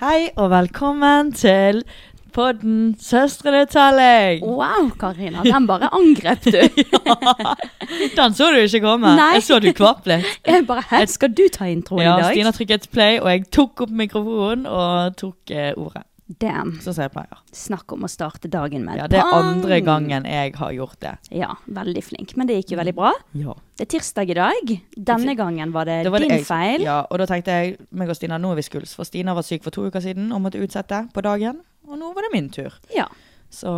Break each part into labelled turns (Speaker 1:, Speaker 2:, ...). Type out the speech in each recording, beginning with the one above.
Speaker 1: Hei og velkommen til podden Søstrene Telling.
Speaker 2: Wow, Karina. Den bare angrep du.
Speaker 1: Den så du ikke komme.
Speaker 2: Nei.
Speaker 1: Jeg så du kvapp litt.
Speaker 2: Jeg bare, Hæ, skal du ta introen
Speaker 1: Ja,
Speaker 2: i dag?
Speaker 1: Stina trykket play, og jeg tok opp mikrofonen og tok eh, ordet.
Speaker 2: Damn.
Speaker 1: Sånn som jeg pleier.
Speaker 2: Snakk om å starte dagen med
Speaker 1: Ja,
Speaker 2: et
Speaker 1: det er
Speaker 2: pang.
Speaker 1: andre gangen jeg har gjort det.
Speaker 2: Ja, veldig flink. Men det gikk jo veldig bra.
Speaker 1: Ja.
Speaker 2: Det er tirsdag i dag. Denne gangen var det,
Speaker 1: Det var det
Speaker 2: din
Speaker 1: jeg-
Speaker 2: feil.
Speaker 1: Ja, og da tenkte jeg meg og Stina, nå er vi skuls, for Stina var syk for to uker siden og måtte utsette på dagen. Og nå var det min tur.
Speaker 2: Ja.
Speaker 1: Så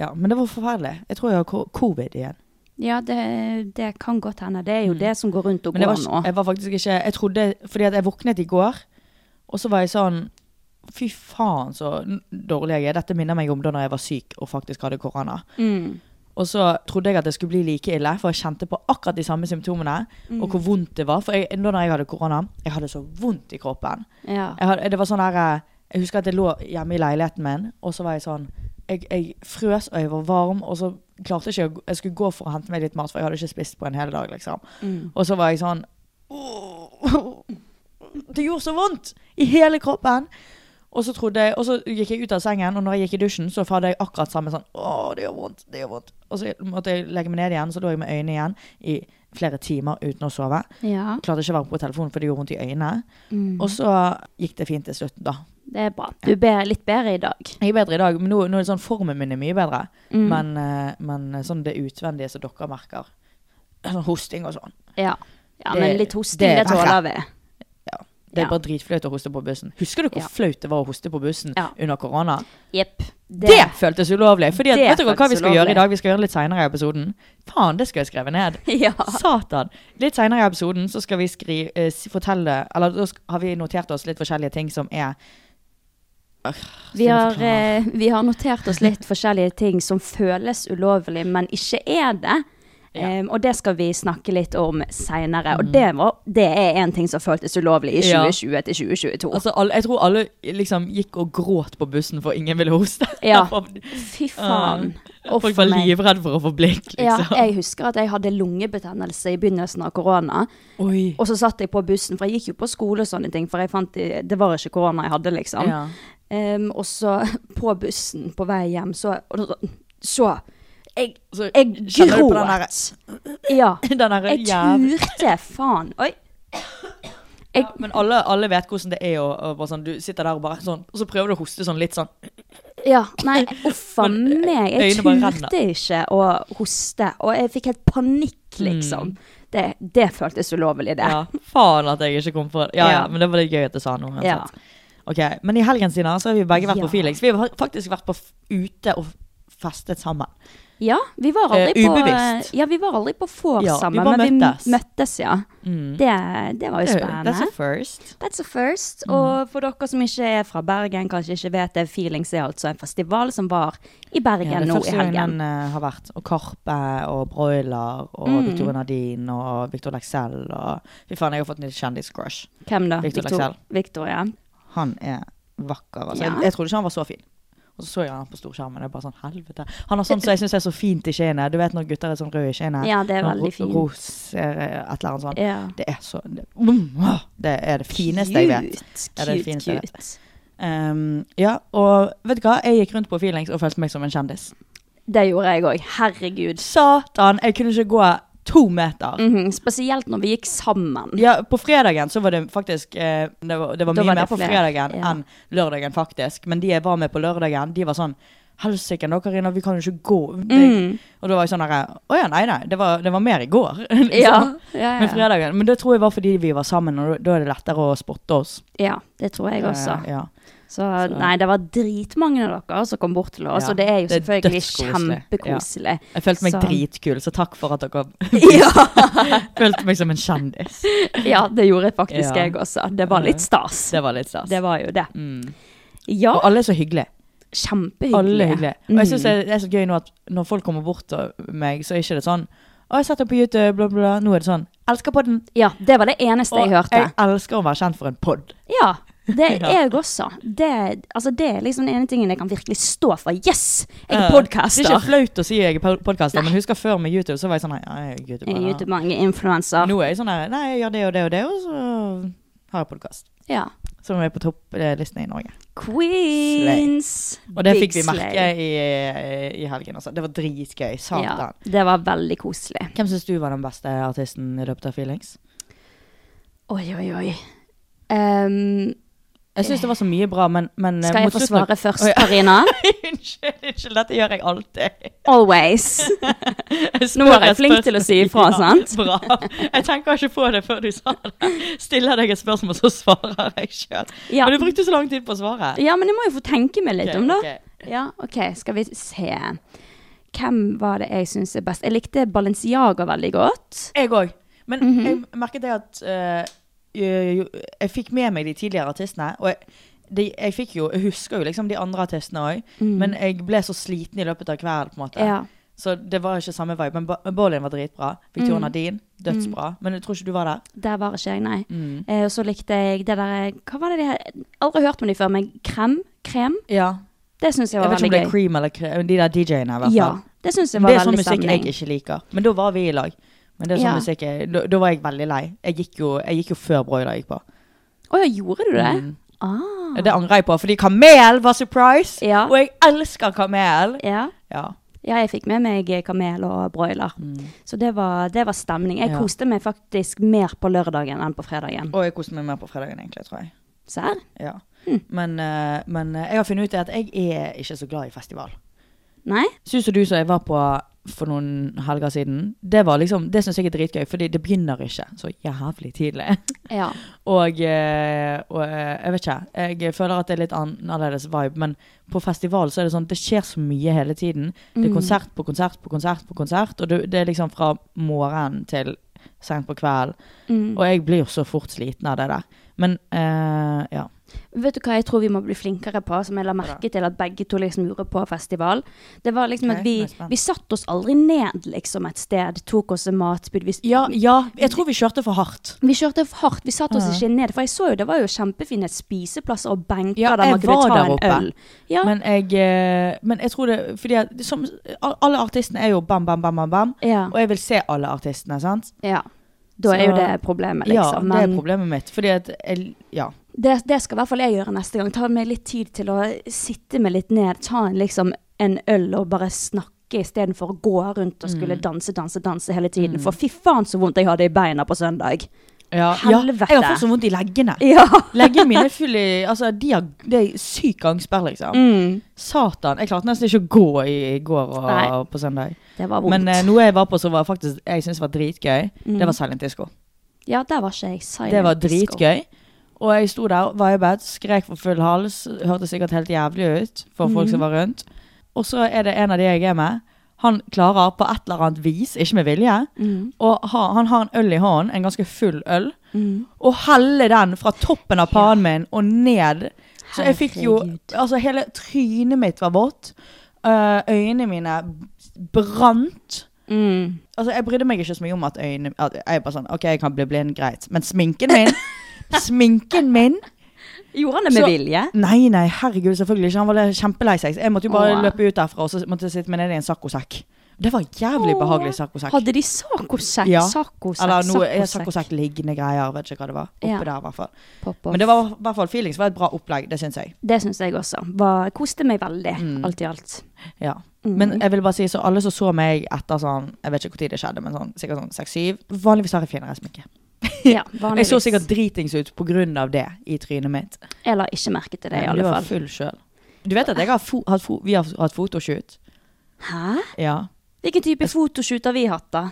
Speaker 1: ja, Men det var forferdelig. Jeg tror jeg har ko- covid igjen.
Speaker 2: Ja, det, det kan godt hende. Det er jo det som går rundt og
Speaker 1: Mm. Men jeg
Speaker 2: går
Speaker 1: var,
Speaker 2: nå.
Speaker 1: ikke- jeg var faktisk ikke Jeg trodde Fordi at jeg våknet i går, og så var jeg sånn Fy faen, så n- dårlig jeg er. Dette minner meg om da når jeg var syk og faktisk hadde korona.
Speaker 2: Mm.
Speaker 1: Og så trodde jeg at det skulle bli like ille, for jeg kjente på akkurat de samme symptomene. Og hvor vondt det var. For jeg, da når jeg hadde korona, jeg hadde så vondt i kroppen.
Speaker 2: Ja.
Speaker 1: Jeg, hadde, det var sånn der, eh, jeg husker at jeg lå hjemme i leiligheten min, og så var jeg sånn Jeg, jeg frøs, og jeg var varm, og så klarte jeg ikke å gå- Jeg skulle gå for å hente meg litt mat, for jeg hadde ikke spist på en hel dag, liksom.
Speaker 2: Mm.
Speaker 1: Og så var jeg sånn «Åh, Det gjorde så vondt i hele kroppen. Og så, trodde jeg, og så gikk jeg ut av sengen, og når jeg gikk i dusjen, så hadde jeg akkurat samme sånn Å, det gjør vondt, det gjør vondt. Og så måtte jeg legge meg ned igjen, så lå jeg med øynene igjen i flere timer uten å sove.
Speaker 2: ja. Mm.
Speaker 1: Klarte ikke å være på telefonen, for det gjorde vondt i øynene. Og så gikk det fint til slutt, da.
Speaker 2: Det er bra. Du er litt bedre i dag.
Speaker 1: Jeg er bedre i dag, men nå, nå er det sånn formen min er mye bedre.
Speaker 2: Mm.
Speaker 1: Men, eh, men sånn det utvendige som dere merker, sånn hosting og sånn,
Speaker 2: Ja. ja
Speaker 1: Det-
Speaker 2: men litt hosting,
Speaker 1: det er
Speaker 2: det tåler vi.
Speaker 1: det er
Speaker 2: Ja.
Speaker 1: bare dritflaut å hoste på bussen. Husker du hvor
Speaker 2: Ja.
Speaker 1: flaut det var å hoste på bussen
Speaker 2: Ja.
Speaker 1: under korona?
Speaker 2: Jepp.
Speaker 1: Det, føltes ulovlig. Fordi at, vet
Speaker 2: Det
Speaker 1: dere hva
Speaker 2: føltes
Speaker 1: vi skal
Speaker 2: ulovlig.
Speaker 1: gjøre i dag? Vi skal gjøre det litt seinere i episoden. Faen, det skal jeg skrive ned.
Speaker 2: Ja.
Speaker 1: Satan. Litt seinere i episoden så skal vi skri, eh, s- fortelle Eller da sk- har vi notert oss litt forskjellige ting som er
Speaker 2: Vi
Speaker 1: Stina,
Speaker 2: har,
Speaker 1: forklar.
Speaker 2: eh, vi har notert oss litt forskjellige ting som føles ulovlig, men ikke er det.
Speaker 1: Ja. Mm.
Speaker 2: Em, og det skal vi snakke litt om seinere. Og det, var, det er en ting som føltes ulovlig i
Speaker 1: Ja.
Speaker 2: 2020 til 2022.
Speaker 1: Altså, alle, jeg tror alle liksom gikk og gråt på bussen for ingen ville hoste.
Speaker 2: Ja.
Speaker 1: For-
Speaker 2: Fy faen.
Speaker 1: Ja.
Speaker 2: Uff
Speaker 1: Folk var
Speaker 2: meg.
Speaker 1: livredd for å få blikk,
Speaker 2: Ja,
Speaker 1: liksom.
Speaker 2: jeg husker at jeg hadde lungebetennelse i begynnelsen av korona.
Speaker 1: Oi.
Speaker 2: Og så satt jeg på bussen, for jeg gikk jo på skole og sånne ting, for jeg fant i- det var ikke korona jeg hadde, liksom.
Speaker 1: Ja.
Speaker 2: Em, og så på bussen på vei hjem, så og Så! Jeg,
Speaker 1: Så
Speaker 2: jeg
Speaker 1: kjenner du på den
Speaker 2: gråt. Ja.
Speaker 1: Den der
Speaker 2: Jeg
Speaker 1: jævla
Speaker 2: turte, faen. Oi. Jeg,
Speaker 1: Men alle, alle vet hvordan det er å å bare sånn Du sitter der og bare sånn, og så prøver du å hoste sånn litt sånn.
Speaker 2: ja, nei, uff a meg. Jeg
Speaker 1: øynene bare renner.
Speaker 2: turte ikke å hoste, og jeg fikk helt panikk, liksom. Det, det føltes ulovlig, det.
Speaker 1: Mm. Ja, faen at jeg ikke kom på det. Ja, ja,
Speaker 2: Ja.
Speaker 1: men det var litt gøy at jeg sa noe.
Speaker 2: Ja.
Speaker 1: uansett. Ok, Men i helgen Stina, så har vi begge vært
Speaker 2: Ja.
Speaker 1: på Felix. Vi har faktisk vært på f- ute og festet sammen.
Speaker 2: Ja, vi var aldri
Speaker 1: Eh,
Speaker 2: på
Speaker 1: ubevisst.
Speaker 2: Ja, vi var aldri på vors
Speaker 1: Ja, vi
Speaker 2: sammen,
Speaker 1: bare
Speaker 2: men
Speaker 1: møttes.
Speaker 2: vi møttes, ja. Det, Mm. det var jo
Speaker 1: Det er jo-
Speaker 2: spennende. Mm.
Speaker 1: That's a first.
Speaker 2: That's a first. Og for dere som ikke er fra Bergen, kanskje ikke vet det, Feelings er altså en festival som var i Bergen
Speaker 1: Ja, det er
Speaker 2: nå
Speaker 1: første
Speaker 2: i
Speaker 1: gang
Speaker 2: helgen.
Speaker 1: den eh, har vært. Og Karpe og Broiler og
Speaker 2: Mm.
Speaker 1: Victoria Nadine og Victor Lexell og Fy faen, jeg har fått en kjendiscrush.
Speaker 2: Hvem da?
Speaker 1: Victor
Speaker 2: Victor-
Speaker 1: Leksell.
Speaker 2: Victor, ja.
Speaker 1: Han er vakker. Altså.
Speaker 2: Ja.
Speaker 1: Jeg, jeg trodde ikke han var så fin. Og så så jeg han på storskjermen. Det er bare sånn, helvete. Han har sånn som jeg syns er så fint i kinnet. Du vet når gutter er sånn røde i kinnet?
Speaker 2: Ja, det er
Speaker 1: Sånn
Speaker 2: veldig
Speaker 1: ro-
Speaker 2: fint.
Speaker 1: Ros, eh, et eller annet sånt.
Speaker 2: ja.
Speaker 1: Det er så det, mm, åh, det er det fineste jeg vet. Ja, det er det
Speaker 2: Cute,
Speaker 1: fineste jeg vet.
Speaker 2: cute, cute.
Speaker 1: Um, ja, og vet du hva? Jeg gikk rundt på feelings og følte meg som en kjendis.
Speaker 2: Det gjorde jeg òg. Herregud.
Speaker 1: Satan, jeg kunne ikke gå to meter.
Speaker 2: Mhm, Spesielt når vi gikk sammen.
Speaker 1: Ja, på fredagen så var det faktisk eh, Det var, det var
Speaker 2: Da
Speaker 1: mye
Speaker 2: var det
Speaker 1: mer på
Speaker 2: flere,
Speaker 1: fredagen
Speaker 2: ja.
Speaker 1: enn lørdagen, faktisk. Men de jeg var med på lørdagen, de var sånn Helsike, nå Karina, vi kan jo ikke gå.
Speaker 2: Mm. Mhm.
Speaker 1: Det- Og da var jeg sånn herre Å ja, nei, nei. Det var, det var mer i går. liksom.
Speaker 2: Ja, ja,
Speaker 1: Men
Speaker 2: ja.
Speaker 1: fredagen, men det tror jeg var fordi vi var sammen, og da- da er det lettere å spotte oss.
Speaker 2: ja det tror jeg også.
Speaker 1: Eh, ja.
Speaker 2: Så nei, det var dritmange av dere som kom bort til oss,
Speaker 1: Ja,
Speaker 2: og det er jo
Speaker 1: det er
Speaker 2: selvfølgelig
Speaker 1: dødskoselig.
Speaker 2: kjempekoselig.
Speaker 1: Jeg følte meg
Speaker 2: Så-
Speaker 1: dritkul, så takk for at dere
Speaker 2: Ja.
Speaker 1: følte meg som en kjendis.
Speaker 2: ja, det gjorde faktisk
Speaker 1: Ja.
Speaker 2: jeg også. Det var litt stas.
Speaker 1: Det var litt stas.
Speaker 2: Det var jo det.
Speaker 1: Mm.
Speaker 2: Ja,
Speaker 1: Og alle er så hyggelige.
Speaker 2: kjempehyggelig.
Speaker 1: Alle er hyggelige. Og jeg synes
Speaker 2: Mm.
Speaker 1: det er- det er så gøy nå at når folk kommer bort til meg, så er ikke det sånn Å, jeg setter på YouTube, bla, bla, bla. Nå er det sånn Elsker podden.
Speaker 2: Ja, det var det eneste
Speaker 1: Og
Speaker 2: jeg hørte.
Speaker 1: jeg elsker å være kjent for en pod.
Speaker 2: Ja, det er
Speaker 1: Ja.
Speaker 2: jeg også. Det, altså, det er liksom den ene tingen jeg kan virkelig stå for. Yes! Jeg er
Speaker 1: Eh, Det er ikke
Speaker 2: podcaster.
Speaker 1: flaut å si jeg er pod- podcaster, men husker før med YouTube, så var jeg sånn Nei, jeg er
Speaker 2: Jeg er
Speaker 1: YouTuber.
Speaker 2: YouTube-mange influenser.
Speaker 1: Nå er jeg sånn her Nei, jeg gjør det og det og det, og så har jeg podkast.
Speaker 2: Ja.
Speaker 1: Som er på topplistene i Norge.
Speaker 2: Queens.
Speaker 1: Og det
Speaker 2: Big
Speaker 1: fikk vi merke
Speaker 2: slay.
Speaker 1: i, i helgen, altså. Det var dritgøy.
Speaker 2: Ja,
Speaker 1: Satan.
Speaker 2: det var veldig koselig.
Speaker 1: Hvem syns du var den beste artisten i løpet av Feelings?
Speaker 2: Oi, oi, oi. Ehm,
Speaker 1: Jeg syns det var så mye bra, men, men eh,
Speaker 2: skal jeg
Speaker 1: mot
Speaker 2: få
Speaker 1: slutten av-
Speaker 2: svare først,
Speaker 1: Å, ja.
Speaker 2: Karina?
Speaker 1: Unnskyld, unnskyld, dette gjør jeg alltid.
Speaker 2: Always. Nå var jeg flink til å si ifra, sant?
Speaker 1: Bra. Jeg tenker ikke på det før du sa det. Stiller deg et spørsmål, så svarer jeg sjøl.
Speaker 2: Ja.
Speaker 1: Men du brukte så lang tid på å svare.
Speaker 2: Ja, men jeg må jo få tenke meg litt
Speaker 1: Ok,
Speaker 2: om, da.
Speaker 1: ok.
Speaker 2: Ja, OK, skal vi se. Hvem var det jeg syns er best? Jeg likte Balenciaga veldig godt.
Speaker 1: Jeg òg. Men
Speaker 2: Mhm.
Speaker 1: jeg merket det at eh, jo- jo, jeg fikk med meg de tidligere artistene. Og jeg, de, jeg fikk jo, jeg husker jo liksom de andre artistene òg, men jeg ble så sliten i løpet av kvelden. på en måte.
Speaker 2: Mhm. Ja.
Speaker 1: Så det var ikke samme vibe. Men Ba- Bolin var dritbra. Victoria
Speaker 2: Mhm.
Speaker 1: Nadine, dødsbra. Men jeg tror ikke du var der.
Speaker 2: Der var ikke jeg, nei.
Speaker 1: Mm.
Speaker 2: Eh, og så likte jeg det der eh, Hva var det de her Aldri hørt om de før, men krem? Krem?
Speaker 1: Ja.
Speaker 2: Det syns jeg
Speaker 1: Jeg
Speaker 2: var
Speaker 1: vet ikke om
Speaker 2: veldig
Speaker 1: det er
Speaker 2: gøy.
Speaker 1: cream eller cream, de der DJ-ene i hvert fall.
Speaker 2: Ja, det syns jeg
Speaker 1: det
Speaker 2: var
Speaker 1: er sånn
Speaker 2: veldig
Speaker 1: musikk jeg
Speaker 2: stemning.
Speaker 1: ikke liker. Men da var vi i lag. Men det er sånn
Speaker 2: Ja.
Speaker 1: musikk jeg, da, da var jeg veldig lei. Jeg gikk jo, jeg gikk jo før Broiler gikk på.
Speaker 2: Å ja, gjorde du
Speaker 1: Mm.
Speaker 2: det? Ah.
Speaker 1: Det angrer jeg på, fordi Kamel var surprise!
Speaker 2: Ja.
Speaker 1: Og jeg elsker Kamel!
Speaker 2: Ja.
Speaker 1: Ja.
Speaker 2: ja, jeg fikk med meg eh, kamel og broiler. Så det var, det var stemning. Jeg
Speaker 1: Mm. Ja.
Speaker 2: koste meg faktisk mer på lørdagen enn på fredagen.
Speaker 1: Og jeg koste meg mer på fredagen, egentlig, tror jeg.
Speaker 2: Se her.
Speaker 1: Ja.
Speaker 2: Hm.
Speaker 1: Men, eh, men eh, jeg har funnet ut det at jeg er ikke så glad i festival.
Speaker 2: Nei?
Speaker 1: Sus og du som jeg var på for noen helger siden, det, var liksom, det syns jeg er dritgøy, fordi det begynner ikke så jævlig tidlig.
Speaker 2: Ja.
Speaker 1: Og, eh, og eh, jeg vet ikke, jeg føler at det er litt annerledes vibe, men på festival så er det sånn, det skjer så mye hele tiden. Det er konsert på konsert på konsert på konsert, og det, det er liksom fra morgen til sent på kveld. Og jeg blir jo så fort sliten av det der. Men eh, ja.
Speaker 2: Vet du hva jeg tror vi må bli flinkere på, som jeg la merke til at begge to liksom gjorde på festival? Det var liksom
Speaker 1: Ok,
Speaker 2: at
Speaker 1: nå er
Speaker 2: vi,
Speaker 1: jeg spent.
Speaker 2: vi satte oss aldri ned liksom et sted, tok oss en matbud. Vi,
Speaker 1: ja. Ja, jeg tror vi kjørte for hardt.
Speaker 2: vi kjørte for hardt, vi satte oss ikke ned. For jeg så jo, det var jo kjempefine spiseplasser og benker
Speaker 1: Ja,
Speaker 2: der man
Speaker 1: jeg
Speaker 2: kunne
Speaker 1: var
Speaker 2: ta
Speaker 1: der
Speaker 2: en
Speaker 1: oppe.
Speaker 2: øl. Ja,
Speaker 1: Men, jeg, eh, men jeg tror det, fordi at, som, alle artistene er jo bam, bam, bam, bam, bam.
Speaker 2: ja,
Speaker 1: Og jeg vil se alle artistene, sant?
Speaker 2: ja. Da er
Speaker 1: Så-
Speaker 2: jo det problemet, liksom.
Speaker 1: ja, det er
Speaker 2: Men
Speaker 1: problemet mitt. Fordi at, jeg, ja.
Speaker 2: det, det skal i hvert fall jeg gjøre neste gang. Ta meg litt tid til å sitte meg litt ned, ta en, liksom, en øl og bare snakke. Istedenfor å gå rundt og skulle
Speaker 1: Mm.
Speaker 2: danse, danse, danse hele tiden. For fy faen så vondt jeg hadde i beina på søndag.
Speaker 1: Ja,
Speaker 2: Helvete.
Speaker 1: Ja, jeg har fått så vondt i leggene.
Speaker 2: Ja.
Speaker 1: Leggene mine er full i Altså, de har det er syk gangsperre, liksom.
Speaker 2: Mm.
Speaker 1: Satan. Jeg klarte nesten ikke å gå i, i går og
Speaker 2: Nei.
Speaker 1: på søndag.
Speaker 2: Det var vondt.
Speaker 1: Men eh, noe jeg var på som var faktisk jeg syns var dritgøy, det var Silent Disco.
Speaker 2: ja, der var ikke jeg. Silent
Speaker 1: Det var
Speaker 2: disco.
Speaker 1: dritgøy. Og jeg
Speaker 2: Mm.
Speaker 1: sto der, vibet, skrek for full hals. Hørtes sikkert helt jævlig ut for folk som var rundt. Og så er det en av de jeg er med. Han klarer på et eller annet vis, ikke med vilje,
Speaker 2: Mm,
Speaker 1: og ha, han har en øl i hånden, en ganske full øl,
Speaker 2: mm,
Speaker 1: og heller den fra toppen av pannen min og ned. Så jeg fikk jo
Speaker 2: Herregud.
Speaker 1: Altså, hele trynet mitt var vått. øh, øynene mine brant.
Speaker 2: Mm.
Speaker 1: Altså, jeg brydde meg ikke så mye om at øynene at Jeg bare sånn OK, jeg kan bli blind, greit. Men sminken min Sminken min
Speaker 2: Gjorde han det med
Speaker 1: Så-
Speaker 2: vilje?
Speaker 1: Nei, nei, herregud, selvfølgelig ikke. Han var kjempelei seg. Jeg måtte jo bare
Speaker 2: Åh.
Speaker 1: løpe ut derfra, og så måtte jeg sitte meg ned i en saccosekk. Det var en jævlig behagelig saccosekk.
Speaker 2: Hadde de sakosekk?
Speaker 1: Ja.
Speaker 2: Sakosekk,
Speaker 1: Eller noe eh,
Speaker 2: sakosekk.
Speaker 1: saccosekk liggende greier, vet ikke hva det var. Oppe
Speaker 2: Ja.
Speaker 1: der, i hvert fall.
Speaker 2: Pop off.
Speaker 1: Men det var i hvert fall feelings. Det var et bra opplegg, det syns jeg.
Speaker 2: Det syns jeg også. Var, koste meg veldig, alt i alt. Mm.
Speaker 1: Ja. Mm. Men jeg vil bare si, så alle som så meg etter sånn, jeg vet ikke hvor tid det skjedde, men sånn, sikkert sånn seks-syv, vanligvis har jeg finere sminke.
Speaker 2: Ja,
Speaker 1: Jeg så
Speaker 2: vanligvis.
Speaker 1: sikkert dritings ut på grunn av det i trynet mitt.
Speaker 2: Jeg la ikke merke til det, i
Speaker 1: Men
Speaker 2: alle
Speaker 1: Du var
Speaker 2: fall.
Speaker 1: full sjøl. Du vet at jeg har fo hatt fo vi har hatt fotoshoot?
Speaker 2: Hæ?
Speaker 1: Ja.
Speaker 2: Hvilken type fotoshoot har vi hatt, da?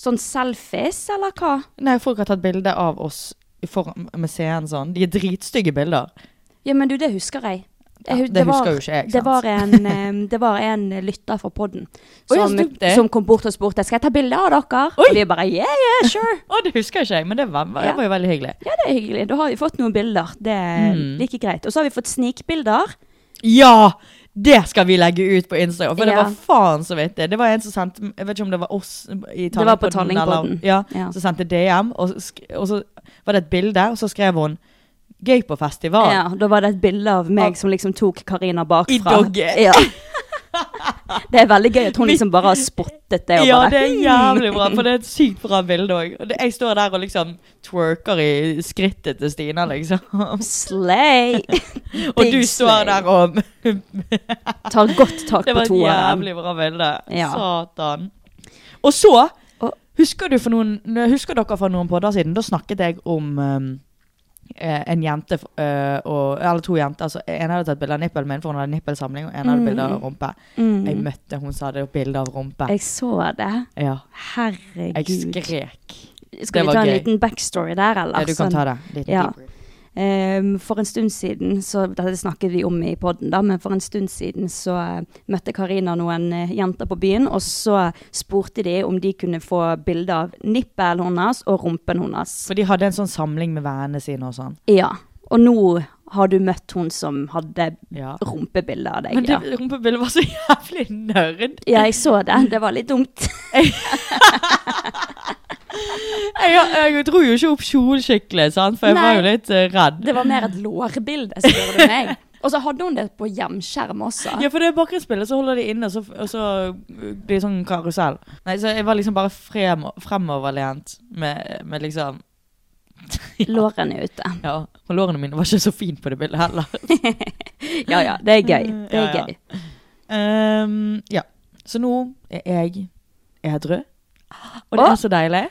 Speaker 2: Sånn selfies, eller hva?
Speaker 1: Nei, folk har tatt bilde av oss i foran med scenen sånn. De er dritstygge bilder.
Speaker 2: Ja, men du, det husker jeg.
Speaker 1: Ja,
Speaker 2: hu-
Speaker 1: det husker jo ikke jeg,
Speaker 2: Det
Speaker 1: sant?
Speaker 2: var, en, em, det var en lytter fra podden
Speaker 1: Å, ja,
Speaker 2: som,
Speaker 1: stemte det.
Speaker 2: som kom bort og spurte Skal jeg ta bilde av dere. Og vi bare yeah, yeah, sure.
Speaker 1: Å, det husker ikke jeg, men det var, det
Speaker 2: Ja.
Speaker 1: var jo veldig hyggelig.
Speaker 2: Ja, det er hyggelig. Da har vi fått noen bilder. Det er
Speaker 1: Mm.
Speaker 2: like greit. Og så har vi fått snikbilder.
Speaker 1: Ja! Det skal vi legge ut på Instagram, for det
Speaker 2: Ja.
Speaker 1: var faen så vidt det. Det var en som sendte Jeg vet ikke om det var oss i Tallingpodden.
Speaker 2: Det var på
Speaker 1: eller-
Speaker 2: Tallingpodden.
Speaker 1: Ja,
Speaker 2: Ja.
Speaker 1: Som sendte DM, og, så sk- og så var det et bilde, og så skrev hun 'Gøy på festival'.
Speaker 2: Ja, da var det et bilde av meg som liksom tok Karina bakfra.
Speaker 1: Ah. I dogge.
Speaker 2: Ja. Det er veldig gøy at hun liksom bare har spottet det. Og
Speaker 1: Ja,
Speaker 2: bare,
Speaker 1: det er
Speaker 2: «Hmm».
Speaker 1: jævlig bra, for det er et sykt bra bilde òg. Jeg står der og liksom twerker i skrittet til Stina, liksom.
Speaker 2: "Hmm, Slay!
Speaker 1: Og
Speaker 2: Big
Speaker 1: du står
Speaker 2: slay.
Speaker 1: der og
Speaker 2: Tar godt tak
Speaker 1: Det var
Speaker 2: på
Speaker 1: et
Speaker 2: toeren.
Speaker 1: jævlig bra bilde.
Speaker 2: Ja.
Speaker 1: Satan. Og så
Speaker 2: Og-
Speaker 1: husker, du for noen, husker dere for noen podder siden? Da snakket jeg om um, eh, en jente eh, og, Eller to jenter. Altså, en hadde tatt bilde av nippelen min, for hun hadde nippelsamling. Og en hadde bilde av rumpe. Jeg møtte hun som hadde bilde av rumpe.
Speaker 2: Mm. Jeg så det.
Speaker 1: ja. Jeg
Speaker 2: Herregud.
Speaker 1: skrek.
Speaker 2: Skal
Speaker 1: Det
Speaker 2: vi
Speaker 1: var
Speaker 2: ta en
Speaker 1: gøy.
Speaker 2: liten backstory der, eller?
Speaker 1: Ja, du kan
Speaker 2: Sånn,
Speaker 1: ta det. Liten
Speaker 2: Ja.
Speaker 1: debrief.
Speaker 2: ehm, for en stund siden, så dette snakket vi om i podden da, men for en stund siden så eh, møtte Karina noen eh, jenter på byen, og så spurte de om de kunne få bilde av nippelen hennes og rumpen hennes.
Speaker 1: For de hadde en sånn samling med vennene sine og sånn.
Speaker 2: Ja, og nå har du møtt hun som hadde
Speaker 1: Ja.
Speaker 2: rumpebilde av
Speaker 1: Men
Speaker 2: deg,
Speaker 1: det
Speaker 2: ja.
Speaker 1: rumpebildet var så jævlig nerd.
Speaker 2: Ja, jeg så det. Det var litt dumt.
Speaker 1: Jeg, jeg, dro jo ikke opp kjolen skikkelig, sant? for jeg
Speaker 2: Nei.
Speaker 1: var jo litt eh, redd.
Speaker 2: Det var mer et lårbilde, spør du meg. Og så hadde hun det på hjemskjerm også.
Speaker 1: Ja, for det er bakgrunnsbildet, så holder de inne, og så, og så blir det sånn karusell. Nei, så jeg var liksom bare frem, fremoverlent med, med liksom
Speaker 2: Lårene er ute.
Speaker 1: Ja, og lårene mine var ikke så fine på det bildet heller.
Speaker 2: Ja, Mm, ja, det er gøy. Det
Speaker 1: Ja,
Speaker 2: er
Speaker 1: ja.
Speaker 2: gøy.
Speaker 1: Ehm, ja. Så nå er jeg edru. Og det
Speaker 2: Å.
Speaker 1: er så deilig.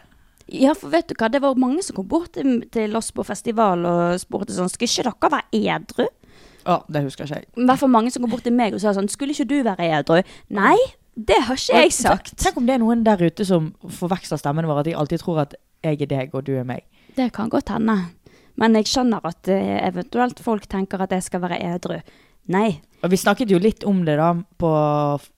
Speaker 2: Ja, for vet du hva, det var mange som kom bort til, til oss på festival og spurte sånn, skulle ikke dere være edru?
Speaker 1: Å, det husker ikke jeg.
Speaker 2: I hvert fall mange som kom bort til meg og sa sånn, skulle ikke du være edru? Nei, det har ikke jeg sagt.
Speaker 1: Tenk om det er noen der ute som forveksler stemmen vår, at de alltid tror at jeg er deg og du er meg.
Speaker 2: Det kan godt hende. Men jeg skjønner at eh, eventuelt folk tenker at jeg skal være edru. Nei.
Speaker 1: Og vi snakket jo litt om det da på f-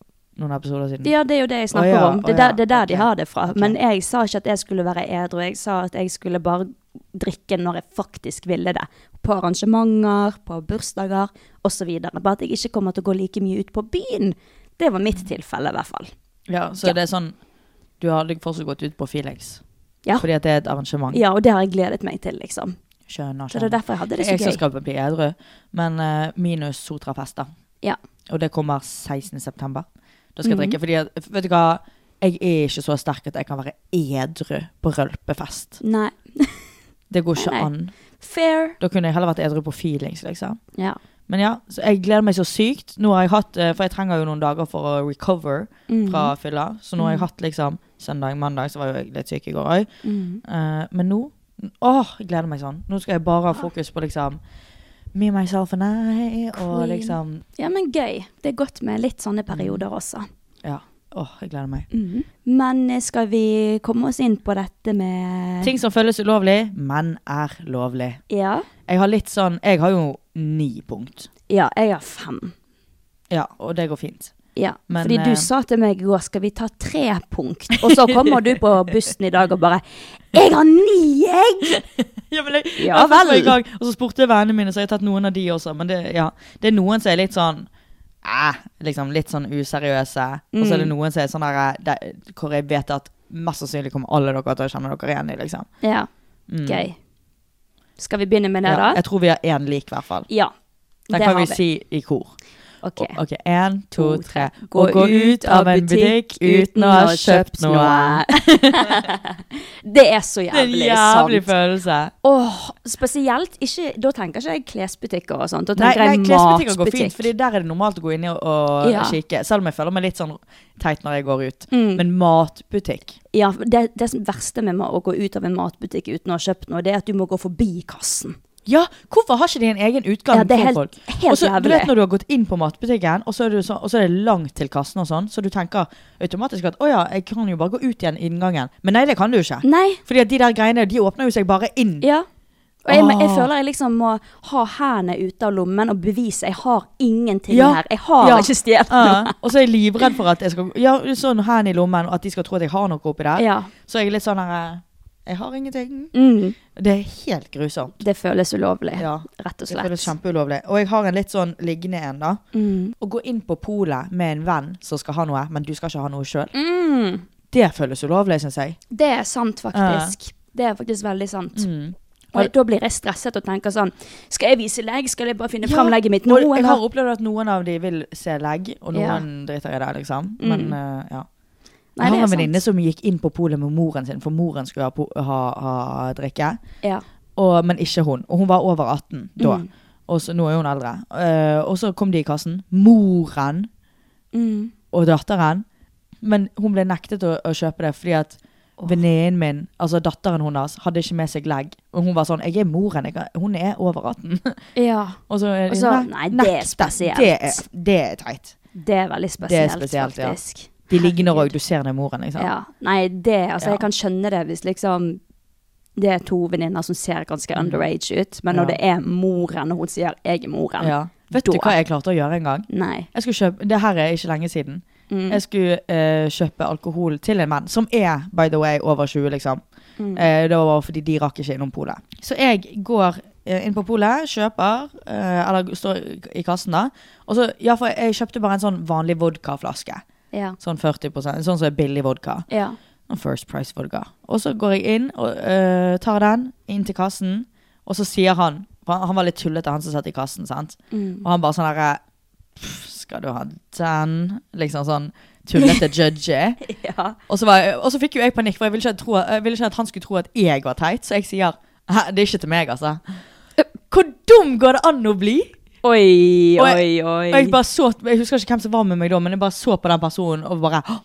Speaker 1: noen episoder siden.
Speaker 2: Ja, det er jo det jeg snakker
Speaker 1: Å ja,
Speaker 2: om. Det
Speaker 1: å
Speaker 2: er der,
Speaker 1: ja,
Speaker 2: det er der
Speaker 1: ok.
Speaker 2: de har det fra.
Speaker 1: Ok.
Speaker 2: Men jeg sa ikke at jeg skulle være edru. Jeg sa at jeg skulle bare drikke når jeg faktisk ville det. På arrangementer, på bursdager osv. Bare at jeg ikke kommer til å gå like mye ut på byen. Det var mitt tilfelle, i hvert fall.
Speaker 1: Ja, så
Speaker 2: Ja.
Speaker 1: det er sånn Du har liksom fortsatt gått ut på Felix.
Speaker 2: Ja.
Speaker 1: Fordi at det er et arrangement.
Speaker 2: Ja, og det har jeg gledet meg til, liksom.
Speaker 1: Skjønner,
Speaker 2: Så det er
Speaker 1: skjønner.
Speaker 2: derfor jeg hadde det
Speaker 1: jeg som
Speaker 2: så gøy.
Speaker 1: skal bli edru, men eh, minus Sotrafest, da.
Speaker 2: Ja. Mhm.
Speaker 1: Og det kommer 16. september. Da skal jeg drikke. Fordi at, vet du hva, jeg er ikke så sterk at jeg kan være edru på rølpefest.
Speaker 2: Nei.
Speaker 1: Det går ikke
Speaker 2: Nei, nei.
Speaker 1: an.
Speaker 2: Fair.
Speaker 1: Da kunne jeg heller vært edru på feelings, liksom.
Speaker 2: Ja.
Speaker 1: Men ja, så jeg gleder meg så sykt. Nå har jeg hatt, eh, For jeg trenger jo noen dager for å recover
Speaker 2: Mm.
Speaker 1: fra
Speaker 2: Mhm.
Speaker 1: fylla. Så nå har jeg hatt liksom søndag, mandag, så var jo jeg litt syk i går òg.
Speaker 2: Mm.
Speaker 1: men nå Åh, jeg gleder meg sånn. Nå skal jeg bare ha fokus på liksom me, myself and I, og
Speaker 2: Queen.
Speaker 1: liksom
Speaker 2: ja, men gøy. Det er godt med litt
Speaker 1: Mm.
Speaker 2: sånne perioder også.
Speaker 1: Ja. Åh, jeg gleder meg.
Speaker 2: Mhm. Men eh, skal vi komme oss inn på dette med
Speaker 1: Ting som føles ulovlig, men er lovlig.
Speaker 2: Ja.
Speaker 1: Jeg har litt sånn Jeg har jo ni punkt.
Speaker 2: Ja, jeg har fem.
Speaker 1: Ja, og det går fint.
Speaker 2: Ja,
Speaker 1: Men,
Speaker 2: fordi du
Speaker 1: eh,
Speaker 2: sa til meg i går skal vi ta tre punkt, og så kommer du på bussen i dag og bare 'Jeg har ni egg!'
Speaker 1: Ja, men jeg,
Speaker 2: Ja
Speaker 1: jeg var i
Speaker 2: vel.
Speaker 1: gang, og så spurte jeg vennene mine, så jeg har tatt noen av de også. Men det, ja, det er noen som er litt sånn eh, liksom litt sånn useriøse. Og så er det noen som er sånn der, eh, de- hvor jeg vet at mest sannsynlig kommer alle dere til å kjenne dere igjen i, liksom.
Speaker 2: Ja,
Speaker 1: Mm.
Speaker 2: gøy. Skal vi begynne med det,
Speaker 1: Ja,
Speaker 2: da?
Speaker 1: jeg tror vi har én lik, i hvert fall.
Speaker 2: Ja.
Speaker 1: Den
Speaker 2: det
Speaker 1: kan vi
Speaker 2: har
Speaker 1: si i kor.
Speaker 2: Ok.
Speaker 1: Og- Ok, Én, to,
Speaker 2: To,
Speaker 1: tre. Gå, gå ut av en butikk uten å ha kjøpt noe.
Speaker 2: det er så
Speaker 1: Det er en
Speaker 2: jævlig,
Speaker 1: jævlig
Speaker 2: sant.
Speaker 1: følelse.
Speaker 2: Åh, spesielt ikke Da tenker ikke jeg klesbutikker og sånt. Da
Speaker 1: Nei,
Speaker 2: tenker
Speaker 1: nei
Speaker 2: jeg
Speaker 1: klesbutikker går
Speaker 2: matbutikk.
Speaker 1: fint, Fordi der er det normalt å gå inn i og, og
Speaker 2: Ja.
Speaker 1: kikke. Selv om jeg føler meg litt sånn teit når jeg går ut.
Speaker 2: Mm.
Speaker 1: Men matbutikk
Speaker 2: Ja, det, det som verste med å gå ut av en matbutikk uten å ha kjøpt noe, det er at du må gå forbi kassen.
Speaker 1: Ja, hvorfor har ikke de en egen utgang
Speaker 2: Ja, det er
Speaker 1: for
Speaker 2: helt-
Speaker 1: folk?
Speaker 2: helt
Speaker 1: Og så, du
Speaker 2: jævlig.
Speaker 1: vet når du har gått inn på matbutikken, og så er, du så, og så er det langt til kassen og sånn, så du tenker automatisk at å ja, jeg kan jo bare gå ut igjen i inngangen. Men nei, det kan du ikke.
Speaker 2: Nei.
Speaker 1: Fordi at de der greiene, de åpner jo seg bare inn.
Speaker 2: Mm. Ja. Og jeg, jeg
Speaker 1: Åh.
Speaker 2: føler jeg liksom må ha hendene ute av lommen og bevise jeg har ingenting
Speaker 1: Ja.
Speaker 2: her. Jeg har
Speaker 1: Ja. Ah.
Speaker 2: ikke stjålet
Speaker 1: Ja,
Speaker 2: noe.
Speaker 1: og så er jeg livredd for at jeg skal Ja, sånn hendene i lommen, og at de skal tro at jeg har noe oppi der.
Speaker 2: Ja.
Speaker 1: Så jeg er litt sånn her eh, Jeg har ingenting.
Speaker 2: Mm,
Speaker 1: Det er helt grusomt.
Speaker 2: det føles ulovlig,
Speaker 1: Ja.
Speaker 2: rett og
Speaker 1: Det føles
Speaker 2: slett.
Speaker 1: kjempeulovlig. Og jeg har en litt sånn liggende en, da.
Speaker 2: Mm.
Speaker 1: Å gå inn på polet med en venn som skal ha noe, men du skal ikke ha noe sjøl.
Speaker 2: Mm,
Speaker 1: Det føles ulovlig, syns jeg.
Speaker 2: det er sant,
Speaker 1: Ah.
Speaker 2: faktisk. Det er faktisk veldig sant.
Speaker 1: Mm.
Speaker 2: Og jeg- da blir jeg stresset og tenker sånn Skal jeg vise legg? Skal jeg bare finne fram
Speaker 1: Ja,
Speaker 2: legget mitt nå?
Speaker 1: og jeg har
Speaker 2: Eller?
Speaker 1: opplevd at noen av de vil se legg, og
Speaker 2: Ja. Mm.
Speaker 1: noen driter i det, liksom. Men eh, ja.
Speaker 2: Nei,
Speaker 1: jeg
Speaker 2: det
Speaker 1: har
Speaker 2: er
Speaker 1: en venninne
Speaker 2: sant.
Speaker 1: som gikk inn på polet med moren sin, for moren skulle ha, po- ha, ha drikke.
Speaker 2: Ja.
Speaker 1: og, men ikke hun. Og hun var over 18 da.
Speaker 2: Mm.
Speaker 1: Og så, nå er hun eldre. Eh, og så kom de i kassen. Moren
Speaker 2: Mm.
Speaker 1: og datteren. Men hun ble nektet å, å kjøpe det fordi at venninnen min, altså datteren hennes, hadde ikke med seg legg. Og hun var sånn 'Jeg er moren. Jeg, er- hun er over 18.'
Speaker 2: ja.
Speaker 1: og så, er
Speaker 2: Og
Speaker 1: de
Speaker 2: så,
Speaker 1: sånn,
Speaker 2: nei, det er
Speaker 1: nekte.
Speaker 2: spesielt.
Speaker 1: Det er, det er teit.
Speaker 2: Det er veldig
Speaker 1: Det er
Speaker 2: spesielt,
Speaker 1: spesielt, ja.
Speaker 2: faktisk.
Speaker 1: De ligner òg. Du ser det er moren, liksom.
Speaker 2: Ja. Nei, det Altså,
Speaker 1: Ja.
Speaker 2: jeg kan skjønne det hvis liksom det er to venninner som ser ganske underage ut, men når
Speaker 1: Mm. Ja.
Speaker 2: det er moren, og hun sier 'jeg er moren'
Speaker 1: Ja. Vet du
Speaker 2: Da-
Speaker 1: hva jeg klarte å gjøre en gang?
Speaker 2: Nei.
Speaker 1: Jeg skulle kjøpe, det her er ikke lenge siden.
Speaker 2: Mm.
Speaker 1: Jeg skulle eh, kjøpe alkohol til en mann, som er by the way over 20, liksom. Eh, det var fordi de rakk ikke innom polet. Så jeg går eh, inn på polet, kjøper, eh, eller står i kassen da. Og så, ja, for jeg kjøpte bare en sånn vanlig vodkaflaske.
Speaker 2: Ja.
Speaker 1: Sånn 40 sånn som er billig vodka.
Speaker 2: ja.
Speaker 1: Noen First Price vodka. Og så går jeg inn og øh, tar den inn til kassen, og så sier han for Han han var litt tullete, han som satt i kassen, sant.
Speaker 2: Mm.
Speaker 1: Og han bare sånn derre «Pff, Skal du ha den? Liksom sånn tullete judgy.
Speaker 2: ja.
Speaker 1: Og så, var, jeg- og så fikk jo jeg panikk, for jeg ville, ikke at tro, jeg ville ikke at han skulle tro at jeg var teit, så jeg sier Hæ, det er ikke til meg, altså. Hvor dum går det an å bli?
Speaker 2: Oi,
Speaker 1: Og jeg-
Speaker 2: oi, oi.
Speaker 1: Og jeg bare så Jeg husker ikke hvem som var med meg da, men jeg bare så på den personen og bare «Hå!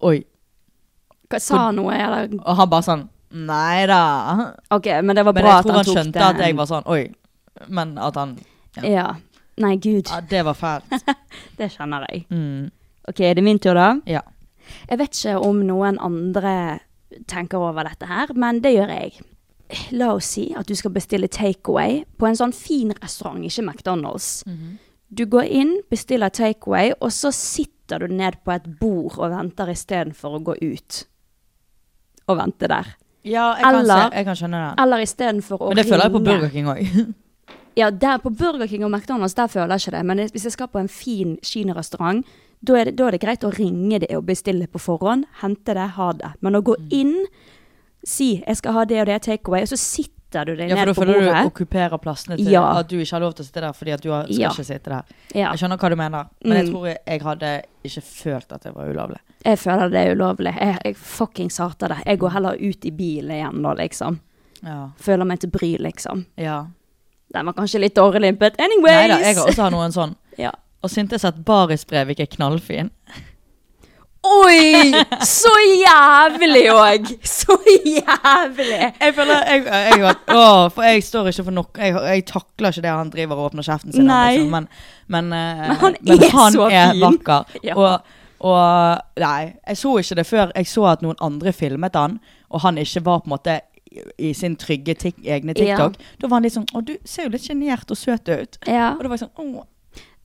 Speaker 1: Oi.
Speaker 2: Hva- Sa han noe, eller
Speaker 1: Og han bare sånn Nei da.
Speaker 2: OK, men det var
Speaker 1: Men
Speaker 2: bra
Speaker 1: jeg
Speaker 2: at
Speaker 1: tror han
Speaker 2: han tok
Speaker 1: skjønte
Speaker 2: den.
Speaker 1: at jeg var sånn Oi. Men at han
Speaker 2: ja. Nei, gud.
Speaker 1: Ja, det var fælt.
Speaker 2: Det kjenner jeg.
Speaker 1: Mm.
Speaker 2: OK, er det min tur, da?
Speaker 1: Ja.
Speaker 2: Jeg vet ikke om noen andre tenker over dette her, men det gjør jeg. La oss si at du skal bestille takeaway på en sånn fin restaurant, ikke McDonald's.
Speaker 1: Mhm.
Speaker 2: Du går inn, bestiller takeaway, og så sitter du ned på et bord og venter istedenfor å gå ut og vente der.
Speaker 1: Ja, jeg kan,
Speaker 2: Eller-
Speaker 1: se, jeg kan skjønne den.
Speaker 2: Eller istedenfor å
Speaker 1: Men det føler jeg på
Speaker 2: ringe.
Speaker 1: Burger King òg.
Speaker 2: Ja, der på Burger King og McDonald's der føler jeg ikke det. Men hvis jeg skal på en fin kinarestaurant, da er, det, da er det greit å ringe det og bestille på forhånd. Hente det, ha det. Men å gå
Speaker 1: Mm.
Speaker 2: inn, si 'jeg skal ha det og det, take away', og så sitter du deg
Speaker 1: Ja, for da
Speaker 2: ned på
Speaker 1: føler du
Speaker 2: bordet.
Speaker 1: okkuperer plassene til
Speaker 2: Ja.
Speaker 1: at du ikke har lov til å sitte der fordi at du har- skal
Speaker 2: Ja.
Speaker 1: ikke sitte der.
Speaker 2: Ja,
Speaker 1: Jeg skjønner hva du mener, men jeg
Speaker 2: Mm.
Speaker 1: tror jeg, jeg hadde ikke følt at det var ulovlig.
Speaker 2: jeg føler det er ulovlig. Jeg, jeg fuckings hater det. Jeg går heller ut i bilen igjen nå, liksom.
Speaker 1: Ja.
Speaker 2: Føler meg til bry, liksom.
Speaker 1: ja.
Speaker 2: Den var kanskje litt dårlig, but
Speaker 1: Nei
Speaker 2: anyways!
Speaker 1: da, jeg har også hatt noen sånn.
Speaker 2: ja.
Speaker 1: Og syntes at Baris Brevik er knallfin.
Speaker 2: Oi! Så jævlig òg! Så jævlig!
Speaker 1: Jeg føler jeg, jeg, har- Åh, For jeg står ikke for nok Jeg, jeg takler ikke det han driver og åpner kjeften sin. om,
Speaker 2: Nei.
Speaker 1: Liksom. Men, men, eh,
Speaker 2: Men han er så fin.
Speaker 1: vakker.
Speaker 2: Ja.
Speaker 1: Og, og Nei, jeg så ikke det før jeg så at noen andre filmet han, og han ikke var på en måte i, i sin trygge tik, egne
Speaker 2: Ja.
Speaker 1: TikTok. Da var han litt sånn Å, du ser jo litt sjenert og søt ut.
Speaker 2: Ja.
Speaker 1: Og da var jeg sånn Å.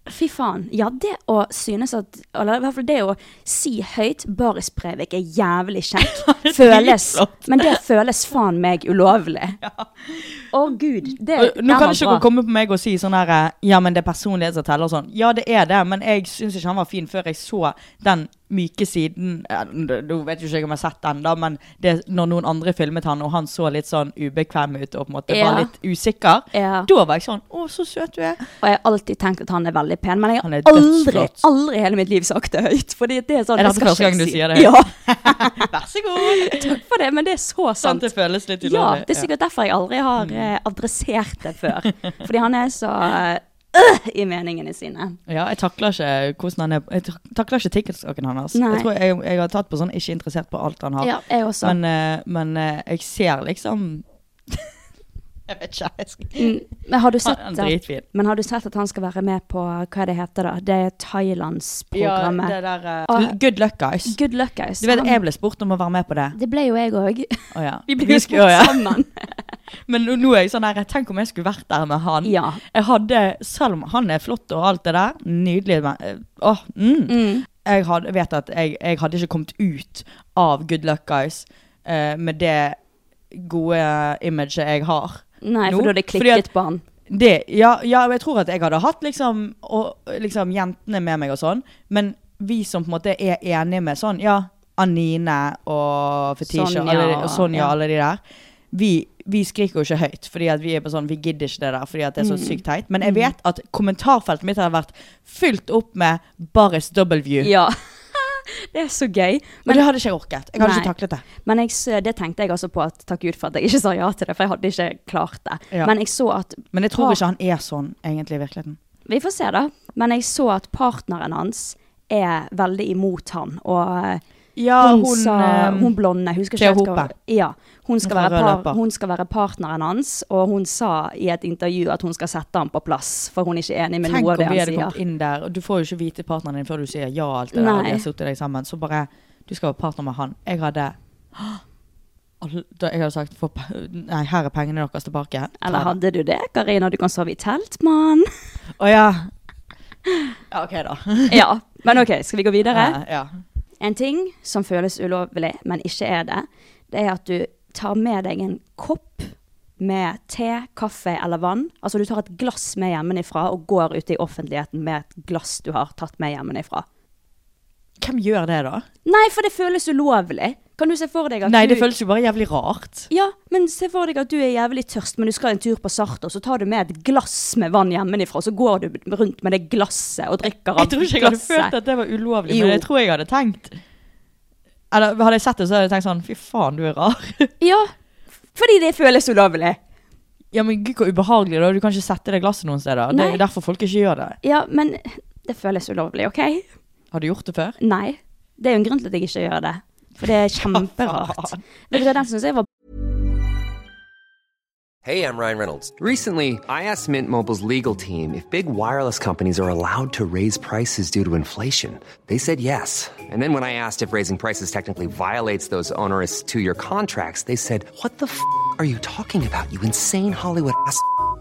Speaker 2: Fy faen. Ja, det å synes at Eller i hvert fall det å si høyt 'Baris Breivik er jævlig kjekk', føles
Speaker 1: dritflott.
Speaker 2: Men det føles faen meg ulovlig. Å, gud. Det
Speaker 1: Og Nå kan
Speaker 2: Eh, den var
Speaker 1: ikke
Speaker 2: bra.
Speaker 1: dere komme på meg og si sånn her eh, Ja, men det er personlighet som teller og sånn. Ja, det er det, men jeg syns ikke han var fin før jeg så den myke siden eh, Nå vet jo ikke jeg om jeg har sett den, da, men det, når noen andre filmet han, og han så litt sånn ubekvem ut og på en måte
Speaker 2: Ja.
Speaker 1: var litt usikker,
Speaker 2: Ja.
Speaker 1: da var jeg sånn Å, så søt du er.
Speaker 2: Og jeg har alltid tenkt at han er veldig pen, men jeg
Speaker 1: Han er
Speaker 2: har aldri
Speaker 1: dødsflott.
Speaker 2: aldri i hele mitt liv sagt det høyt. Fordi det er sånn
Speaker 1: Er
Speaker 2: jeg
Speaker 1: dette
Speaker 2: skal
Speaker 1: første
Speaker 2: ikke
Speaker 1: gang du
Speaker 2: si-
Speaker 1: sier det høyt?
Speaker 2: Ja,
Speaker 1: Vær så god.
Speaker 2: takk for det, men det er så
Speaker 1: Sånn
Speaker 2: sant.
Speaker 1: det føles litt
Speaker 2: Ja,
Speaker 1: ulovlig. Mm.
Speaker 2: det er sikkert derfor jeg aldri har eh, adressert det før. Fordi han er så øh, i meningene sine.
Speaker 1: Ja, jeg takler ikke hvordan han er Jeg tak- takler ikke tikkelsaken hans.
Speaker 2: Nei.
Speaker 1: Jeg tror jeg, jeg har tatt på sånn ikke interessert på alt han har.
Speaker 2: Ja, jeg også.
Speaker 1: Men, eh, men eh, jeg ser liksom Jeg vet ikke. Jeg skal...
Speaker 2: Mm, Men har du
Speaker 1: Han
Speaker 2: sett
Speaker 1: han er
Speaker 2: at,
Speaker 1: dritfin.
Speaker 2: men har du sett at han skal være med på hva det heter da? Det er Thailandsprogrammet.
Speaker 1: det der eh,
Speaker 2: Ah.
Speaker 1: Good luck, guys.
Speaker 2: Good luck, guys.
Speaker 1: Du vet,
Speaker 2: Han-
Speaker 1: jeg ble spurt om å være med på det.
Speaker 2: Det ble jo jeg òg.
Speaker 1: Å ja.
Speaker 2: Vi ble jo
Speaker 1: skulle- å,
Speaker 2: spurt
Speaker 1: ja.
Speaker 2: sammen.
Speaker 1: Men nå, nå er jeg sånn her Tenk om jeg skulle vært der med han.
Speaker 2: Ja.
Speaker 1: Jeg hadde, Selv om han er flott og alt det der, nydelig men, eh, Åh, mm. Jeg hadde, vet at jeg, jeg hadde ikke kommet ut av Good Luck Guys eh, med det gode imaget jeg har.
Speaker 2: Nei,
Speaker 1: Nå,
Speaker 2: for da hadde jeg
Speaker 1: fordi at-
Speaker 2: klikket på han.
Speaker 1: Det, ja, ja, jeg tror at jeg hadde hatt liksom, og, liksom jentene med meg og sånn, men vi som på en måte er enige med sånn, ja, Anine og Fetisha
Speaker 2: Sonja
Speaker 1: alle, og
Speaker 2: og-
Speaker 1: Sonja
Speaker 2: ja.
Speaker 1: og alle de der, vi, vi skriker jo ikke høyt, fordi at vi er på sånn, vi gidder ikke det der, fordi at det er
Speaker 2: Mm.
Speaker 1: så sykt teit. Men jeg vet at kommentarfeltet mitt har vært fylt opp med Baris W.
Speaker 2: Ja. Det er så gøy.
Speaker 1: og det hadde ikke jeg orket. Jeg hadde
Speaker 2: Nei.
Speaker 1: ikke taklet det.
Speaker 2: Men jeg, s- det tenkte jeg altså på at takk Gud for at jeg ikke sa ja til det, for jeg hadde ikke klart det.
Speaker 1: Ja.
Speaker 2: Men jeg så at
Speaker 1: Men jeg tror
Speaker 2: Ah.
Speaker 1: ikke han er sånn, egentlig, i virkeligheten.
Speaker 2: Vi får se, da. Men jeg så at partneren hans er veldig imot han. Og eh,
Speaker 1: Ja,
Speaker 2: hun,
Speaker 1: hun,
Speaker 2: sa,
Speaker 1: eh,
Speaker 2: hun blonde jeg husker
Speaker 1: Thea
Speaker 2: ikke helt hva-
Speaker 1: Hope.
Speaker 2: Ja, hun, skal
Speaker 1: Hun fra
Speaker 2: være
Speaker 1: Rød
Speaker 2: par,
Speaker 1: Løper.
Speaker 2: hun skal være partneren hans, og hun sa i et intervju at hun skal sette ham på plass, for hun er ikke enig med
Speaker 1: Tenk
Speaker 2: noe
Speaker 1: om
Speaker 2: av det
Speaker 1: vi
Speaker 2: han
Speaker 1: hadde kommet
Speaker 2: sier.
Speaker 1: inn der, og du får jo ikke vite partneren din før du sier ja og alt det der,
Speaker 2: Nei.
Speaker 1: og de har suttet deg sammen, så bare, du skal være partner med han. Jeg hadde, Alle- da jeg hadde sagt, få pe- nei, her er pengene deres tilbake.
Speaker 2: Eller hadde du det, Karina? Du kan sove i telt, mann.
Speaker 1: Åja. Ja, ok da.
Speaker 2: Ja, men ok, skal vi gå videre?
Speaker 1: Ja, ja.
Speaker 2: En ting som føles ulovlig, men ikke er det, det er at du tar med deg en kopp med te, kaffe eller vann. Altså du tar et glass med hjemmefra og går ut i offentligheten med et glass du har tatt med hjemmefra.
Speaker 1: Hvem gjør det da?
Speaker 2: Nei, for det føles ulovlig. Kan du se for deg at
Speaker 1: Nei,
Speaker 2: du
Speaker 1: det føles jo bare jævlig rart.
Speaker 2: Ja, men se for deg at du er jævlig tørst, men du skal en tur på Sartor, så tar du med et glass med vann hjemmefra, og så går du rundt med det glasset og drikker
Speaker 1: Jeg
Speaker 2: av
Speaker 1: tror ikke jeg hadde følt at det var ulovlig,
Speaker 2: Jo.
Speaker 1: men jeg tror jeg hadde tenkt, eller hadde jeg sett det så hadde jeg tenkt sånn, fy faen, du er rar.
Speaker 2: Ja, fordi det føles ulovlig.
Speaker 1: Ja, men gud, hvor ubehagelig da, du kan ikke sette det glasset noen steder. Det er
Speaker 2: Nei.
Speaker 1: jo derfor folk ikke gjør det.
Speaker 2: Ja, men det føles ulovlig, OK?
Speaker 1: Har du gjort det før?
Speaker 2: Nei. Det er jo en grunn til at jeg ikke gjør det. For det er kjemperart. Vet du hva, den synes jeg var
Speaker 3: Hey, I'm Ryan Reynolds. Recently, I asked Mint Mobile's legal team if big wireless companies are allowed to raise prices due to inflation. They said yes. And then when I asked if raising prices technically violates those onerous two year contracts, they said, What the f are you talking about, you insane Hollywood ass? f-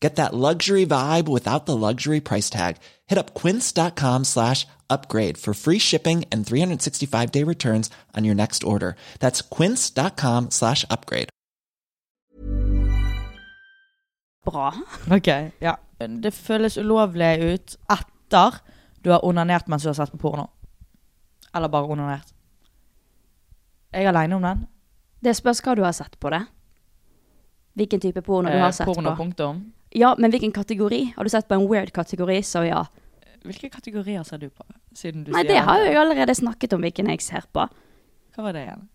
Speaker 4: Get that luxury vibe without the luxury price tag. Hit up quince.com slash upgrade for free shipping and 365 day returns on your next order. That's quince.com slash upgrade.
Speaker 2: bra.
Speaker 1: Ok, ja. Det føles ulovlig ut etter du har onanert mens du har sett på porno. Eller bare onanert. Jeg er aleine om den.
Speaker 2: Det spørs hva du har sett på det. Hvilken type porno du har sett
Speaker 1: Eh, porno,
Speaker 2: på.
Speaker 1: punktum.
Speaker 2: Ja, men hvilken kategori? Har du sett på en weird kategori, så ja.
Speaker 1: Hvilke kategorier ser du på? Siden du
Speaker 2: Nei,
Speaker 1: sier
Speaker 2: det har jeg jo allerede snakket om hvilken jeg ser på.
Speaker 1: Hva var det igjen?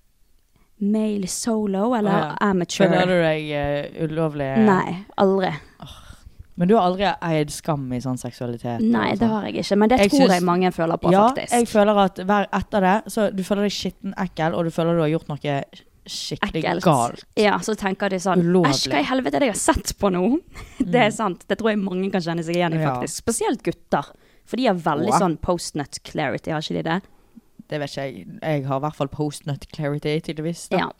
Speaker 2: Male solo eller
Speaker 1: Å, Ah, ja.
Speaker 2: amateur?
Speaker 1: Føler du deg eh, ulovlig?
Speaker 2: Nei, aldri.
Speaker 1: Men du har aldri eid skam i sånn seksualitet? og
Speaker 2: Nei, det
Speaker 1: sånn?
Speaker 2: har jeg ikke. Men det
Speaker 1: Jeg
Speaker 2: tror
Speaker 1: syns-
Speaker 2: jeg mange føler på,
Speaker 1: ja,
Speaker 2: faktisk.
Speaker 1: jeg føler at hver etter det, så du føler deg skitten ekkel, og du føler du har gjort noe skikkelig
Speaker 2: Ekkelt.
Speaker 1: galt.
Speaker 2: Ja, så tenker de sånn
Speaker 1: Ulovlig. Mm.
Speaker 2: Æsj, hva i helvete er det jeg har sett på nå? Det er sant. Det tror jeg mange kan kjenne seg igjen i,
Speaker 1: Ja.
Speaker 2: faktisk. Spesielt gutter. For de har veldig
Speaker 1: Wow.
Speaker 2: sånn post-nut clarity, har ikke de det?
Speaker 1: Det vet ikke jeg. Jeg har i hvert fall post-nut clarity, tydeligvis. Da.
Speaker 2: Ja.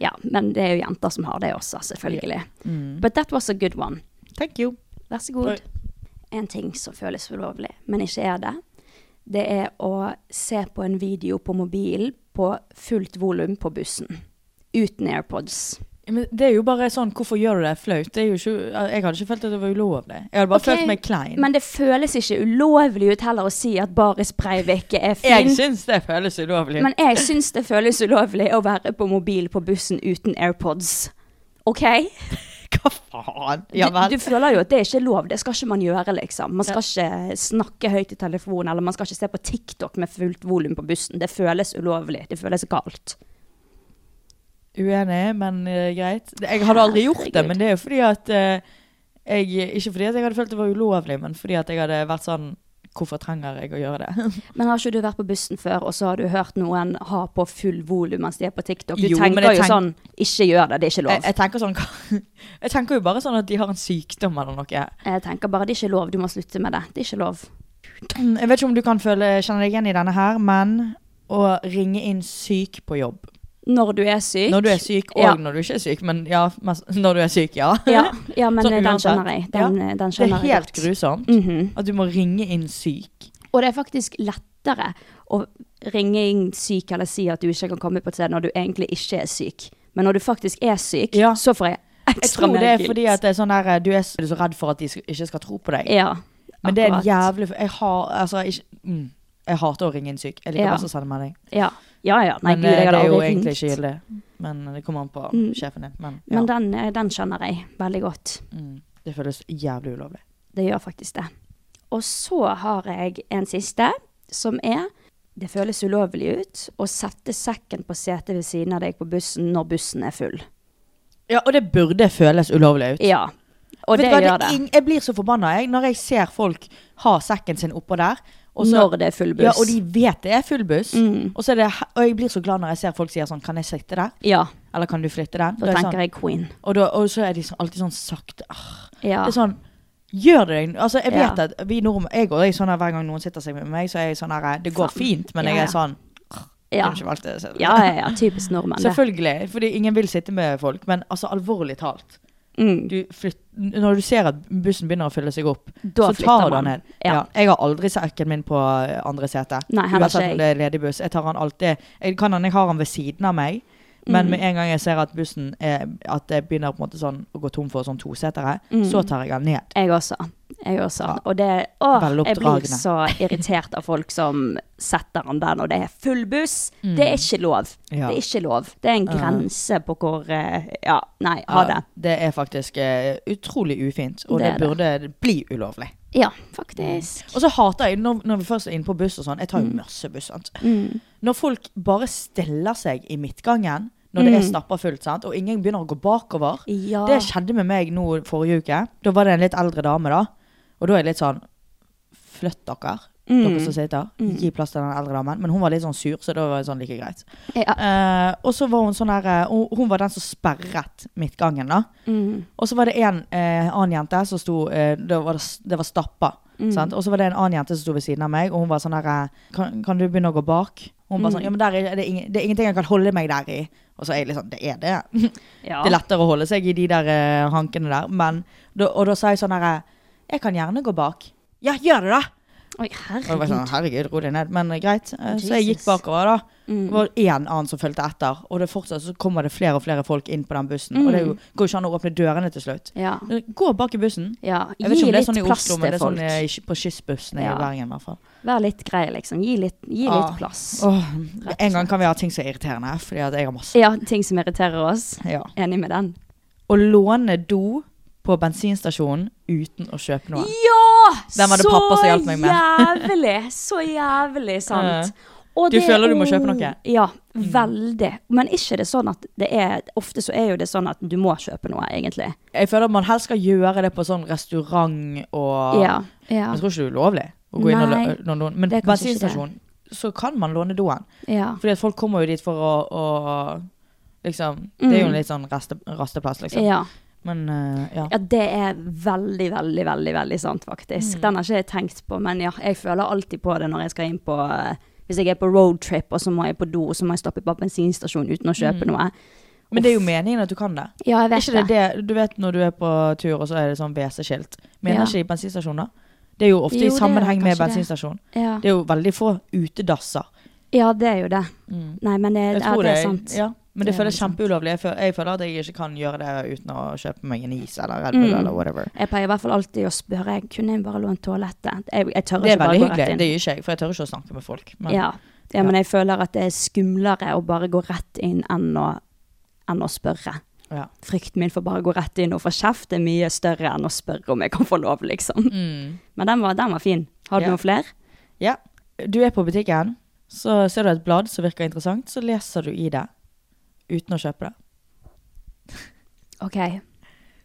Speaker 2: ja. Men det er jo jenter som har det også, selvfølgelig.
Speaker 1: Mm.
Speaker 2: But that was a good one.
Speaker 1: Thank you.
Speaker 2: Vær så god. En ting som føles ulovlig, men ikke er det, det er å se på en video på mobilen på fullt volum på bussen. Uten AirPods.
Speaker 1: Men det er jo bare sånn, hvorfor gjør du det flaut? Det er jo ikke, jeg hadde ikke følt at det var ulovlig. Jeg hadde bare
Speaker 2: Ok,
Speaker 1: følt meg klein.
Speaker 2: Men det føles ikke ulovlig ut heller å si at Baris Breivik er
Speaker 1: jeg
Speaker 2: fin.
Speaker 1: syns det føles ulovlig.
Speaker 2: Men jeg syns det føles ulovlig å være på mobil på bussen uten AirPods. OK?
Speaker 1: hva faen?
Speaker 2: Du,
Speaker 1: Ja vel.
Speaker 2: du føler jo at det er ikke lov. Det skal ikke man gjøre, liksom. Man skal ikke snakke høyt i telefonen, eller man skal ikke se på TikTok med fullt volum på bussen. Det føles ulovlig. Det føles galt.
Speaker 1: Uenig, men eh, greit. Det- Jeg hadde aldri gjort det,
Speaker 2: Herregud.
Speaker 1: men det er jo fordi at eh, jeg, Ikke fordi at jeg hadde følt det var ulovlig, men fordi at jeg hadde vært sånn Hvorfor trenger jeg å gjøre det?
Speaker 2: Men har ikke du vært på bussen før, og så har du hørt noen ha på full volum mens de er på TikTok? Du
Speaker 1: Jo, men
Speaker 2: tenker
Speaker 1: jeg
Speaker 2: jo
Speaker 1: tenk-
Speaker 2: sånn Ikke gjør det, det er ikke
Speaker 1: Jeg,
Speaker 2: lov.
Speaker 1: jeg, tenker sånn, jeg tenker jo bare sånn at de har en sykdom eller noe.
Speaker 2: Jeg tenker bare det er ikke lov, du må slutte med det. Det er ikke lov.
Speaker 1: Mm, Jeg vet ikke om du kan føle, kjenne deg igjen i denne her, men å ringe inn syk på jobb.
Speaker 2: Når du er syk.
Speaker 1: Når du er syk, og
Speaker 2: Ja.
Speaker 1: når du ikke er syk. Men ja, mest- når du er syk, ja.
Speaker 2: Ja, ja men
Speaker 1: Sånn
Speaker 2: eh, den
Speaker 1: uansett.
Speaker 2: skjønner jeg. Den, eh, den
Speaker 1: Det er
Speaker 2: skjønner jeg
Speaker 1: helt
Speaker 2: godt.
Speaker 1: grusomt
Speaker 2: Mhm.
Speaker 1: at du må ringe inn syk.
Speaker 2: Og det er faktisk lettere å ringe inn syk eller si at du ikke kan komme på et sted når du egentlig ikke er syk. Men når du faktisk er syk,
Speaker 1: Ja.
Speaker 2: så får jeg
Speaker 1: Jeg
Speaker 2: ekstra
Speaker 1: tror det er
Speaker 2: medgift.
Speaker 1: fordi at det er sånn der, eh, du er så, du er så redd for at de sk- ikke skal tro på deg.
Speaker 2: Ja,
Speaker 1: Men det er en
Speaker 2: akkurat.
Speaker 1: jævlig Jeg har altså ikke mm, Jeg hater å ringe inn syk. Jeg liker
Speaker 2: Ja.
Speaker 1: best å sende melding.
Speaker 2: Ja, ja. ja. Nei,
Speaker 1: Men
Speaker 2: gud,
Speaker 1: eh,
Speaker 2: jeg
Speaker 1: det
Speaker 2: hadde
Speaker 1: er jo
Speaker 2: aldri
Speaker 1: egentlig
Speaker 2: ringt. Mm.
Speaker 1: ikke gyldig. Men det kommer an på sjefen din. Men, ja.
Speaker 2: Men den, eh, den skjønner jeg veldig godt.
Speaker 1: mm, det føles jævlig ulovlig.
Speaker 2: Det gjør faktisk det. Og så har jeg en siste, som er Det føles ulovlig ut å sette sekken på setet ved siden av deg på bussen når bussen er full.
Speaker 1: Ja, og det burde føles ulovlig ut.
Speaker 2: Ja. Og
Speaker 1: Vet
Speaker 2: det
Speaker 1: du hva,
Speaker 2: gjør det.
Speaker 1: ing- Jeg blir så forbanna jeg, når jeg ser folk ha sekken sin oppå der. og så-
Speaker 2: Når det er full buss. Mm.
Speaker 1: Ja, og de vet det er full buss. Og, så er det, he- og jeg blir så glad når jeg ser folk sier sånn Kan jeg sitte der?
Speaker 2: Ja,
Speaker 1: Eller kan du flytte den? Da
Speaker 2: da
Speaker 1: er jeg
Speaker 2: tenker
Speaker 1: sånn,
Speaker 2: jeg queen.
Speaker 1: og, da, og så er de sånn, alltid sånn sakte. Ah.
Speaker 2: Ja.
Speaker 1: Det er sånn Gjør det deg Altså, jeg vet
Speaker 2: Ja.
Speaker 1: at vi nordmenn Jeg og jeg er sånn her hver gang noen sitter seg med meg, så er jeg sånn her Det går
Speaker 2: Faen.
Speaker 1: fint, men
Speaker 2: Ja,
Speaker 1: jeg
Speaker 2: ja.
Speaker 1: er sånn
Speaker 2: ja.
Speaker 1: kunne ikke valgt det selv.
Speaker 2: ja, ja, ja. Typisk nordmenn. det.
Speaker 1: Selvfølgelig, fordi ingen vil sitte med folk, men altså alvorlig talt.
Speaker 2: Mm.
Speaker 1: Du flytt, når du ser at bussen begynner å fylle seg opp,
Speaker 2: Da
Speaker 1: så tar
Speaker 2: flytter
Speaker 1: du den
Speaker 2: man.
Speaker 1: ned.
Speaker 2: Ja.
Speaker 1: jeg har aldri sekken min på eh, andre sete.
Speaker 2: Nei, heller ikke
Speaker 1: Uansett
Speaker 2: jeg.
Speaker 1: om det er ledig buss. Jeg tar han alltid Jeg, kan han, jeg har han ved siden av meg, men
Speaker 2: Mm.
Speaker 1: med en gang jeg ser at bussen er, at det begynner på en måte sånn å gå tom for sånn tosetere,
Speaker 2: Mm.
Speaker 1: så tar jeg han ned.
Speaker 2: Jeg også. Jeg også.
Speaker 1: Ja.
Speaker 2: Og det Åh, jeg blir
Speaker 1: Veloppdragne.
Speaker 2: så irritert av folk som setter den der når det er full buss. Det er ikke lov.
Speaker 1: Mm. Ja.
Speaker 2: Det er ikke lov. Det er en grense på hvor eh, Ja, nei, ha det.
Speaker 1: Ja, det er faktisk eh, utrolig ufint, og det,
Speaker 2: Det er
Speaker 1: burde
Speaker 2: det.
Speaker 1: bli ulovlig.
Speaker 2: Ja, faktisk.
Speaker 1: Og så hater jeg, når, når vi først er inne på buss og sånn, jeg tar
Speaker 2: Mm.
Speaker 1: jo masse buss, sant. Når folk bare stiller seg i midtgangen, når det er stappa fullt, sant, og ingen begynner å gå bakover.
Speaker 2: Ja.
Speaker 1: Det skjedde med meg nå forrige uke. Da var det en litt eldre dame, da. Og da er jeg litt sånn Flytt dere, dere som sitter. Gi plass til den eldre damen. Men hun var litt sånn sur, så da var det sånn like greit.
Speaker 2: Ja.
Speaker 1: Eh, og så var hun sånn her eh, hun- Hun var den som sperret midtgangen, da. Og så var det en eh, annen jente som sto eh, Det var, det var stappa. Sant? Og så var det en annen jente som sto ved siden av meg, og hun var sånn her eh, kan, kan du begynne å gå bak? Hun bare sånn Ja, men der er det, ingen, det er ingenting jeg kan holde meg der i. Og så er jeg litt sånn Det er det.
Speaker 2: Ja.
Speaker 1: Det er lettere å holde seg i de der eh, hankene der. Men, da, og da sa jeg sånn her Jeg kan gjerne gå bak. Ja, gjør det, da!
Speaker 2: Oi,
Speaker 1: Og jeg var sånn,
Speaker 2: herregud.
Speaker 1: herregud, ro deg ned. Men eh, greit. Eh, Så jeg gikk
Speaker 2: Jesus.
Speaker 1: bakover, da.
Speaker 2: Mm.
Speaker 1: Det var én annen som fulgte etter. Og det fortsatt så kommer det flere og flere folk inn på den bussen. Og det er
Speaker 2: Mm.
Speaker 1: jo, går jo ikke an å åpne dørene til slutt.
Speaker 2: Ja.
Speaker 1: Gå bak i bussen.
Speaker 2: ja.
Speaker 1: Jeg vet ikke
Speaker 2: Gi
Speaker 1: om det er
Speaker 2: litt
Speaker 1: sånn i
Speaker 2: plass
Speaker 1: Oslo, men
Speaker 2: til
Speaker 1: det er sånn
Speaker 2: folk.
Speaker 1: eh, i- på skyssbussene
Speaker 2: Ja.
Speaker 1: i Bergen i hvert fall.
Speaker 2: Vær litt grei, liksom. Gi litt, gi
Speaker 1: Ja.
Speaker 2: litt plass.
Speaker 1: Åh, en gang kan vi ha ting som er irriterende, fordi at jeg har masse.
Speaker 2: Ja, ting som irriterer oss.
Speaker 1: Ja.
Speaker 2: Enig med den.
Speaker 1: Å låne do på bensinstasjonen uten å kjøpe noe.
Speaker 2: Ja!
Speaker 1: Den var det
Speaker 2: så
Speaker 1: pappa som hjalp meg med.
Speaker 2: jævlig! Så jævlig sant. Og
Speaker 1: Du
Speaker 2: det-
Speaker 1: føler du må kjøpe noe? Mm.
Speaker 2: Ja, veldig. Men ikke det sånn at det er Ofte så er jo det sånn at du må kjøpe noe, egentlig.
Speaker 1: Jeg føler at man helst skal gjøre det på sånn restaurant og
Speaker 2: Ja. ja,
Speaker 1: Ah. Jeg tror ikke det er ulovlig å gå inn og
Speaker 2: Nei,
Speaker 1: lå- låne doen. Men
Speaker 2: det er kanskje ikke det.
Speaker 1: bensinstasjonen, så kan man låne doen.
Speaker 2: ja.
Speaker 1: Fordi at folk kommer jo dit for å, å liksom Det er jo
Speaker 2: Mm.
Speaker 1: en litt sånn raste, rasteplass, liksom.
Speaker 2: ja.
Speaker 1: Men eh, ja.
Speaker 2: Ja, det er veldig, veldig, veldig veldig sant,
Speaker 1: Mm.
Speaker 2: faktisk. Den har ikke jeg tenkt på, men ja, jeg føler alltid på det når jeg skal inn på eh, Hvis jeg er på roadtrip, og så må jeg på do, og så må jeg stoppe på bensinstasjon uten å
Speaker 1: Mm.
Speaker 2: kjøpe noe.
Speaker 1: Men det er jo meningen at du kan det.
Speaker 2: Ja, jeg
Speaker 1: Er
Speaker 2: vet
Speaker 1: ikke det det du vet når du er på tur, og så er det sånn WC-skilt? Mener
Speaker 2: Ja.
Speaker 1: ikke de bensinstasjoner? Det er jo ofte
Speaker 2: Jo, det
Speaker 1: i
Speaker 2: er
Speaker 1: sammenheng med
Speaker 2: kanskje det.
Speaker 1: bensinstasjon.
Speaker 2: Ja.
Speaker 1: Det er jo veldig få utedasser. Mm.
Speaker 2: ja, det er jo det. Nei, men det,
Speaker 1: Jeg
Speaker 2: ja,
Speaker 1: tror
Speaker 2: det
Speaker 1: det
Speaker 2: er sant.
Speaker 1: Ja. Men det,
Speaker 2: Det er
Speaker 1: føles
Speaker 2: veldig sant.
Speaker 1: kjempeulovlig. Jeg føler, jeg føler at jeg ikke kan gjøre det uten å kjøpe meg en is eller Red Bull
Speaker 2: Mm.
Speaker 1: eller whatever.
Speaker 2: Jeg pleier i hvert fall alltid å spørre jeg, kunne jeg bare lånt toalettet. Jeg, jeg tør
Speaker 1: Det er veldig
Speaker 2: ikke bare gå
Speaker 1: hyggelig.
Speaker 2: rett inn.
Speaker 1: Det gjør ikke jeg, for jeg tør ikke å snakke med folk. Men
Speaker 2: ja. ja, men jeg føler at det er skumlere å bare gå rett inn enn å, enn å spørre.
Speaker 1: Ja.
Speaker 2: Frykten min for bare å gå rett inn og få kjeft er mye større enn å spørre om jeg kan få lov, liksom.
Speaker 1: Mm.
Speaker 2: Men den var, den var fin. Har du
Speaker 1: Ja.
Speaker 2: noen flere?
Speaker 1: ja. Du er på butikken, så ser du et blad som virker interessant, så leser du i det uten å kjøpe det.
Speaker 2: Ok.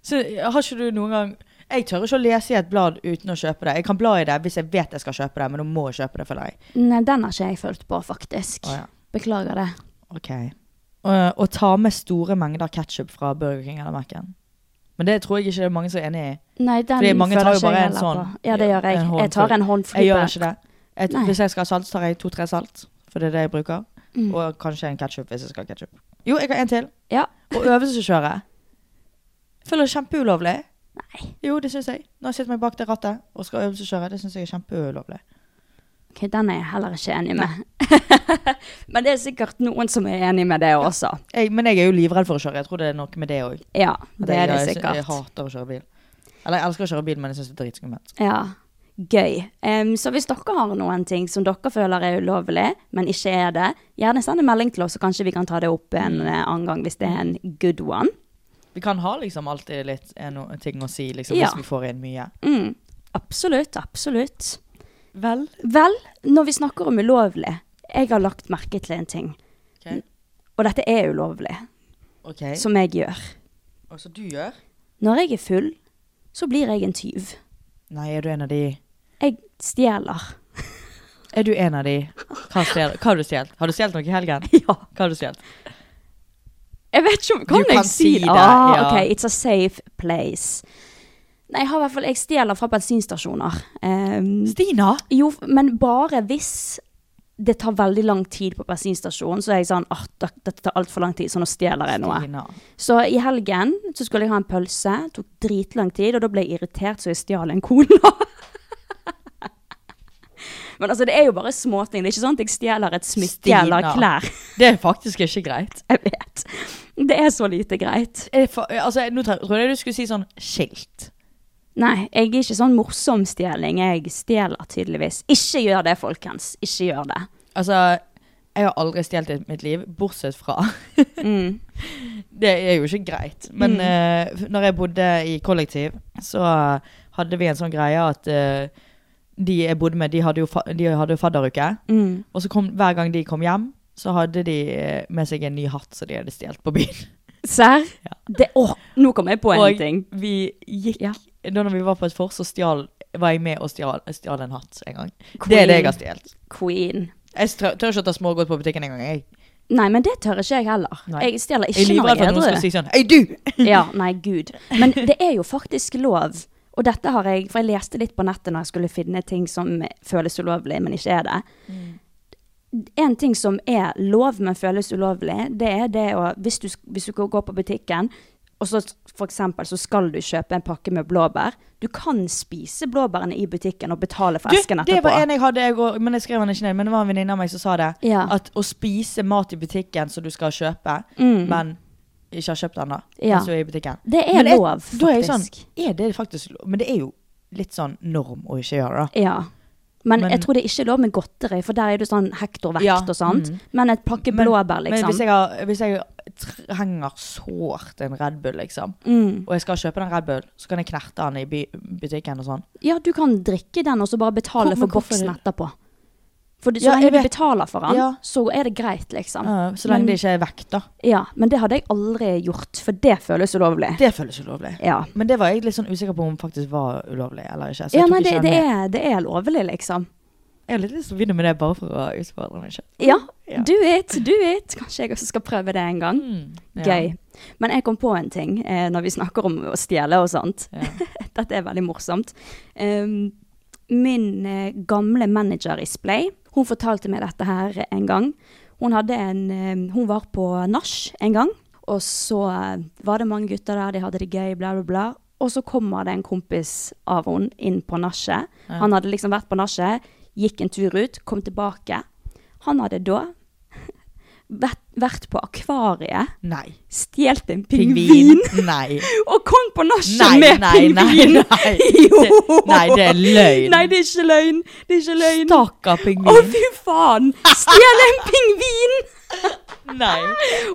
Speaker 1: Så eh, har ikke du noen gang Jeg tør ikke å lese i et blad uten å kjøpe det. Jeg kan bla i det hvis jeg vet jeg skal kjøpe det, men nå må jeg kjøpe det for deg.
Speaker 2: Nei, den har ikke jeg følt på, faktisk.
Speaker 1: Å, ja.
Speaker 2: Beklager det.
Speaker 1: Ok. Eh, Å ta med store mengder ketsjup fra Burger King eller Mac-en. Men det tror jeg ikke det er mange som er enig i.
Speaker 2: Nei, den
Speaker 1: Fordi mange tar
Speaker 2: føler
Speaker 1: jo
Speaker 2: ikke jeg
Speaker 1: bare en
Speaker 2: heller
Speaker 1: sånn-
Speaker 2: på. Ja, det gjør jeg.
Speaker 1: en
Speaker 2: Jeg tar en håndfri
Speaker 1: Jeg gjør
Speaker 2: på-
Speaker 1: ikke det. Et,
Speaker 2: Nei.
Speaker 1: hvis jeg skal ha salt, så tar jeg to-tre salt, for det er det jeg bruker.
Speaker 2: Mm.
Speaker 1: Og kanskje en ketsjup hvis jeg skal ha ketsjup. Jo, jeg har en til.
Speaker 2: Ja.
Speaker 1: Og øvelseskjøre. Jeg Føler det er kjempeulovlig.
Speaker 2: Nei.
Speaker 1: Jo, det syns jeg. Når jeg sitter meg bak det rattet og skal øvelseskjøre, det syns jeg er kjempeulovlig.
Speaker 2: Ok, Den er jeg heller ikke enig med. Men det er sikkert noen som er enig med det også.
Speaker 1: Jeg, men jeg er jo livredd for å kjøre. Jeg tror det er noe med det òg.
Speaker 2: Ja,
Speaker 1: At
Speaker 2: det
Speaker 1: jeg-
Speaker 2: er det
Speaker 1: jeg, jeg,
Speaker 2: sikkert.
Speaker 1: hater å kjøre bil. Eller jeg elsker å kjøre bil, men jeg syns det er dritskummelt.
Speaker 2: Ja, Gøy. Em, så hvis dere har noen ting som dere føler er ulovlig, men ikke er det, gjerne send en melding til oss, så kanskje vi kan ta det opp en eh, annen gang hvis det er en good one.
Speaker 1: Vi kan ha liksom alltid litt eh, no, ting å si liksom,
Speaker 2: Ja.
Speaker 1: hvis vi får inn mye.
Speaker 2: Mm. Absolutt, absolutt.
Speaker 1: Vel.
Speaker 2: Vel, når vi snakker om ulovlig, jeg har lagt merke til en ting,
Speaker 1: Ok.
Speaker 2: og dette er ulovlig,
Speaker 1: Ok.
Speaker 2: som jeg gjør.
Speaker 1: Og så du gjør?
Speaker 2: Når jeg er full, så blir jeg en tyv.
Speaker 1: Nei, er du en av de?
Speaker 2: Jeg stjeler.
Speaker 1: Er du en av de? Hva, stjel, hva har du stjålet? Har du stjålet noe i helgen?
Speaker 2: Ja.
Speaker 1: Hva har du stjålet?
Speaker 2: Jeg vet ikke om
Speaker 1: Du
Speaker 2: Kan
Speaker 1: kan
Speaker 2: jeg si
Speaker 1: si
Speaker 2: det?
Speaker 1: det,
Speaker 2: Ah,
Speaker 1: ja.
Speaker 2: Ok, it's a safe place. Nei, jeg har i hvert fall Jeg stjeler fra bensinstasjoner. Ehm,
Speaker 1: Stina!
Speaker 2: jo, men bare hvis det tar veldig lang tid på bensinstasjonen, så er jeg sånn ah, det- dette tar altfor lang tid, så nå stjeler jeg noe.
Speaker 1: Stina.
Speaker 2: Så i helgen så skulle jeg ha en pølse, tok dritlang tid, og da ble jeg irritert, så jeg stjal en cola. Men altså, det er jo bare småting. Det er ikke sånn at jeg stjeler et smykke eller
Speaker 1: Stina.
Speaker 2: klær.
Speaker 1: Det er faktisk ikke greit.
Speaker 2: Jeg vet. Det er så lite greit.
Speaker 1: Er det fa- altså, nå tro- trodde jeg du skulle si sånn skilt.
Speaker 2: Nei, jeg er ikke sånn morsom stjeling. Jeg stjeler tydeligvis. Ikke gjør det, folkens. Ikke gjør det.
Speaker 1: Altså, jeg har aldri stjålet i mitt liv, bortsett fra
Speaker 2: Mm.
Speaker 1: Det er jo ikke greit. Men
Speaker 2: Mm.
Speaker 1: eh, når jeg bodde i kollektiv, så hadde vi en sånn greie at eh, de jeg bodde med, de hadde jo, fa de hadde jo fadderuke.
Speaker 2: Mm.
Speaker 1: Og så kom, hver gang de kom hjem, så hadde de eh, med seg en ny hatt som de hadde stjålet på byen.
Speaker 2: Serr? Det Å, nå kom jeg på en
Speaker 1: Og
Speaker 2: ting.
Speaker 1: vi gikk
Speaker 2: Ja.
Speaker 1: Da når vi var på et fors, så stjal, var jeg med og stjal, stjal en hatt en gang. Det er det jeg har stjålet.
Speaker 2: Queen.
Speaker 1: Jeg strø- tør ikke å ta smågodt på butikken engang. Jeg,
Speaker 2: Nei, men det tør ikke jeg heller.
Speaker 1: Nei.
Speaker 2: Jeg stjeler
Speaker 1: jeg
Speaker 2: ikke
Speaker 1: er
Speaker 2: når
Speaker 1: livredd for
Speaker 2: jeg
Speaker 1: at noen
Speaker 2: er
Speaker 1: skal
Speaker 2: edru.
Speaker 1: si sånn Hei, du!
Speaker 2: Ja, nei, gud. Men det er jo faktisk lov. Og dette har jeg For jeg leste litt på nettet når jeg skulle finne ting som føles ulovlig, men ikke er det.
Speaker 1: Mm.
Speaker 2: En ting som er lov, men føles ulovlig, det er det å Hvis du, hvis du går på butikken, Og så for eksempel så skal du kjøpe en pakke med blåbær. Du kan spise blåbærene i butikken og betale for esken
Speaker 1: det
Speaker 2: etterpå.
Speaker 1: var en jeg hadde, jeg og, men jeg skrev den ikke ned. Men det var en venninne av meg som sa det.
Speaker 2: Ja.
Speaker 1: At å spise mat i butikken som du skal kjøpe, men ikke har kjøpt ennå.
Speaker 2: Mm. Ja.
Speaker 1: mens du er i butikken.
Speaker 2: Det er
Speaker 1: Men jeg-
Speaker 2: lov,
Speaker 1: Da er jeg sånn,
Speaker 2: faktisk.
Speaker 1: er det faktisk lov? Men det er jo litt sånn norm å ikke gjøre det.
Speaker 2: Ja. Men,
Speaker 1: Men-
Speaker 2: jeg tror det er ikke lov med godteri, for der er du sånn hektorvekt
Speaker 1: Ja,
Speaker 2: og sånt.
Speaker 1: mm.
Speaker 2: Men et pakke
Speaker 1: Men-
Speaker 2: blåbær, liksom.
Speaker 1: Men hvis jeg, har, hvis jeg trenger sårt en Red Bull, liksom,
Speaker 2: Mm.
Speaker 1: og jeg skal kjøpe den Red Bull, så kan jeg knerte den i by butikken og sånn.
Speaker 2: Ja, du kan drikke den og så bare betale
Speaker 1: Hvor-
Speaker 2: for
Speaker 1: men hvorfor-
Speaker 2: boksen etterpå. For så
Speaker 1: Ja,
Speaker 2: lenge
Speaker 1: jeg
Speaker 2: du
Speaker 1: vet-
Speaker 2: betaler for den,
Speaker 1: Ja.
Speaker 2: så er det greit, liksom.
Speaker 1: Ja, så lenge
Speaker 2: Men-
Speaker 1: det ikke er vekk, da.
Speaker 2: Ja, men det hadde jeg aldri gjort, for det føles ulovlig.
Speaker 1: Det føles ulovlig.
Speaker 2: Ja.
Speaker 1: Men det var jeg litt sånn usikker på om faktisk var ulovlig eller ikke. Så
Speaker 2: Ja,
Speaker 1: Altså, jeg tok
Speaker 2: nei,
Speaker 1: ikke den
Speaker 2: det, det,
Speaker 1: med.
Speaker 2: er, det er lovlig, liksom.
Speaker 1: Jeg har litt lyst til å begynne med det bare for å utfordre meg selv.
Speaker 2: Ja,
Speaker 1: Ja. Mm,
Speaker 2: do it, do it. Kanskje jeg også skal prøve det en gang.
Speaker 1: Ja.
Speaker 2: Gøy. Men jeg kom på en ting eh, når vi snakker om å stjele og sånt.
Speaker 1: Ja.
Speaker 2: Dette er veldig morsomt. Um, min eh, gamle manager i Splay, hun fortalte meg dette her en gang. Hun, hadde en, eh, hun var på nach en gang, og så eh, var det mange gutter der, de hadde det gøy, bla, bla, bla. Og så kommer det en kompis av henne inn på nachet. Han hadde liksom vært på nachet, gikk en tur ut, kom tilbake. Han hadde da vært, vært på akvariet,
Speaker 1: Nei.
Speaker 2: stjålet en
Speaker 1: Pingvin?
Speaker 2: pingvin
Speaker 1: Nei.
Speaker 2: og kom på
Speaker 1: Nei,
Speaker 2: nachet med
Speaker 1: nei,
Speaker 2: pingvin.
Speaker 1: nei, nei.
Speaker 2: Jo.
Speaker 1: Det- nei, det er løgn.
Speaker 2: Nei, det er ikke løgn. Det er ikke løgn.
Speaker 1: Stakkar pingvin.
Speaker 2: Å, fy faen! Stjele en pingvin!
Speaker 1: Nei.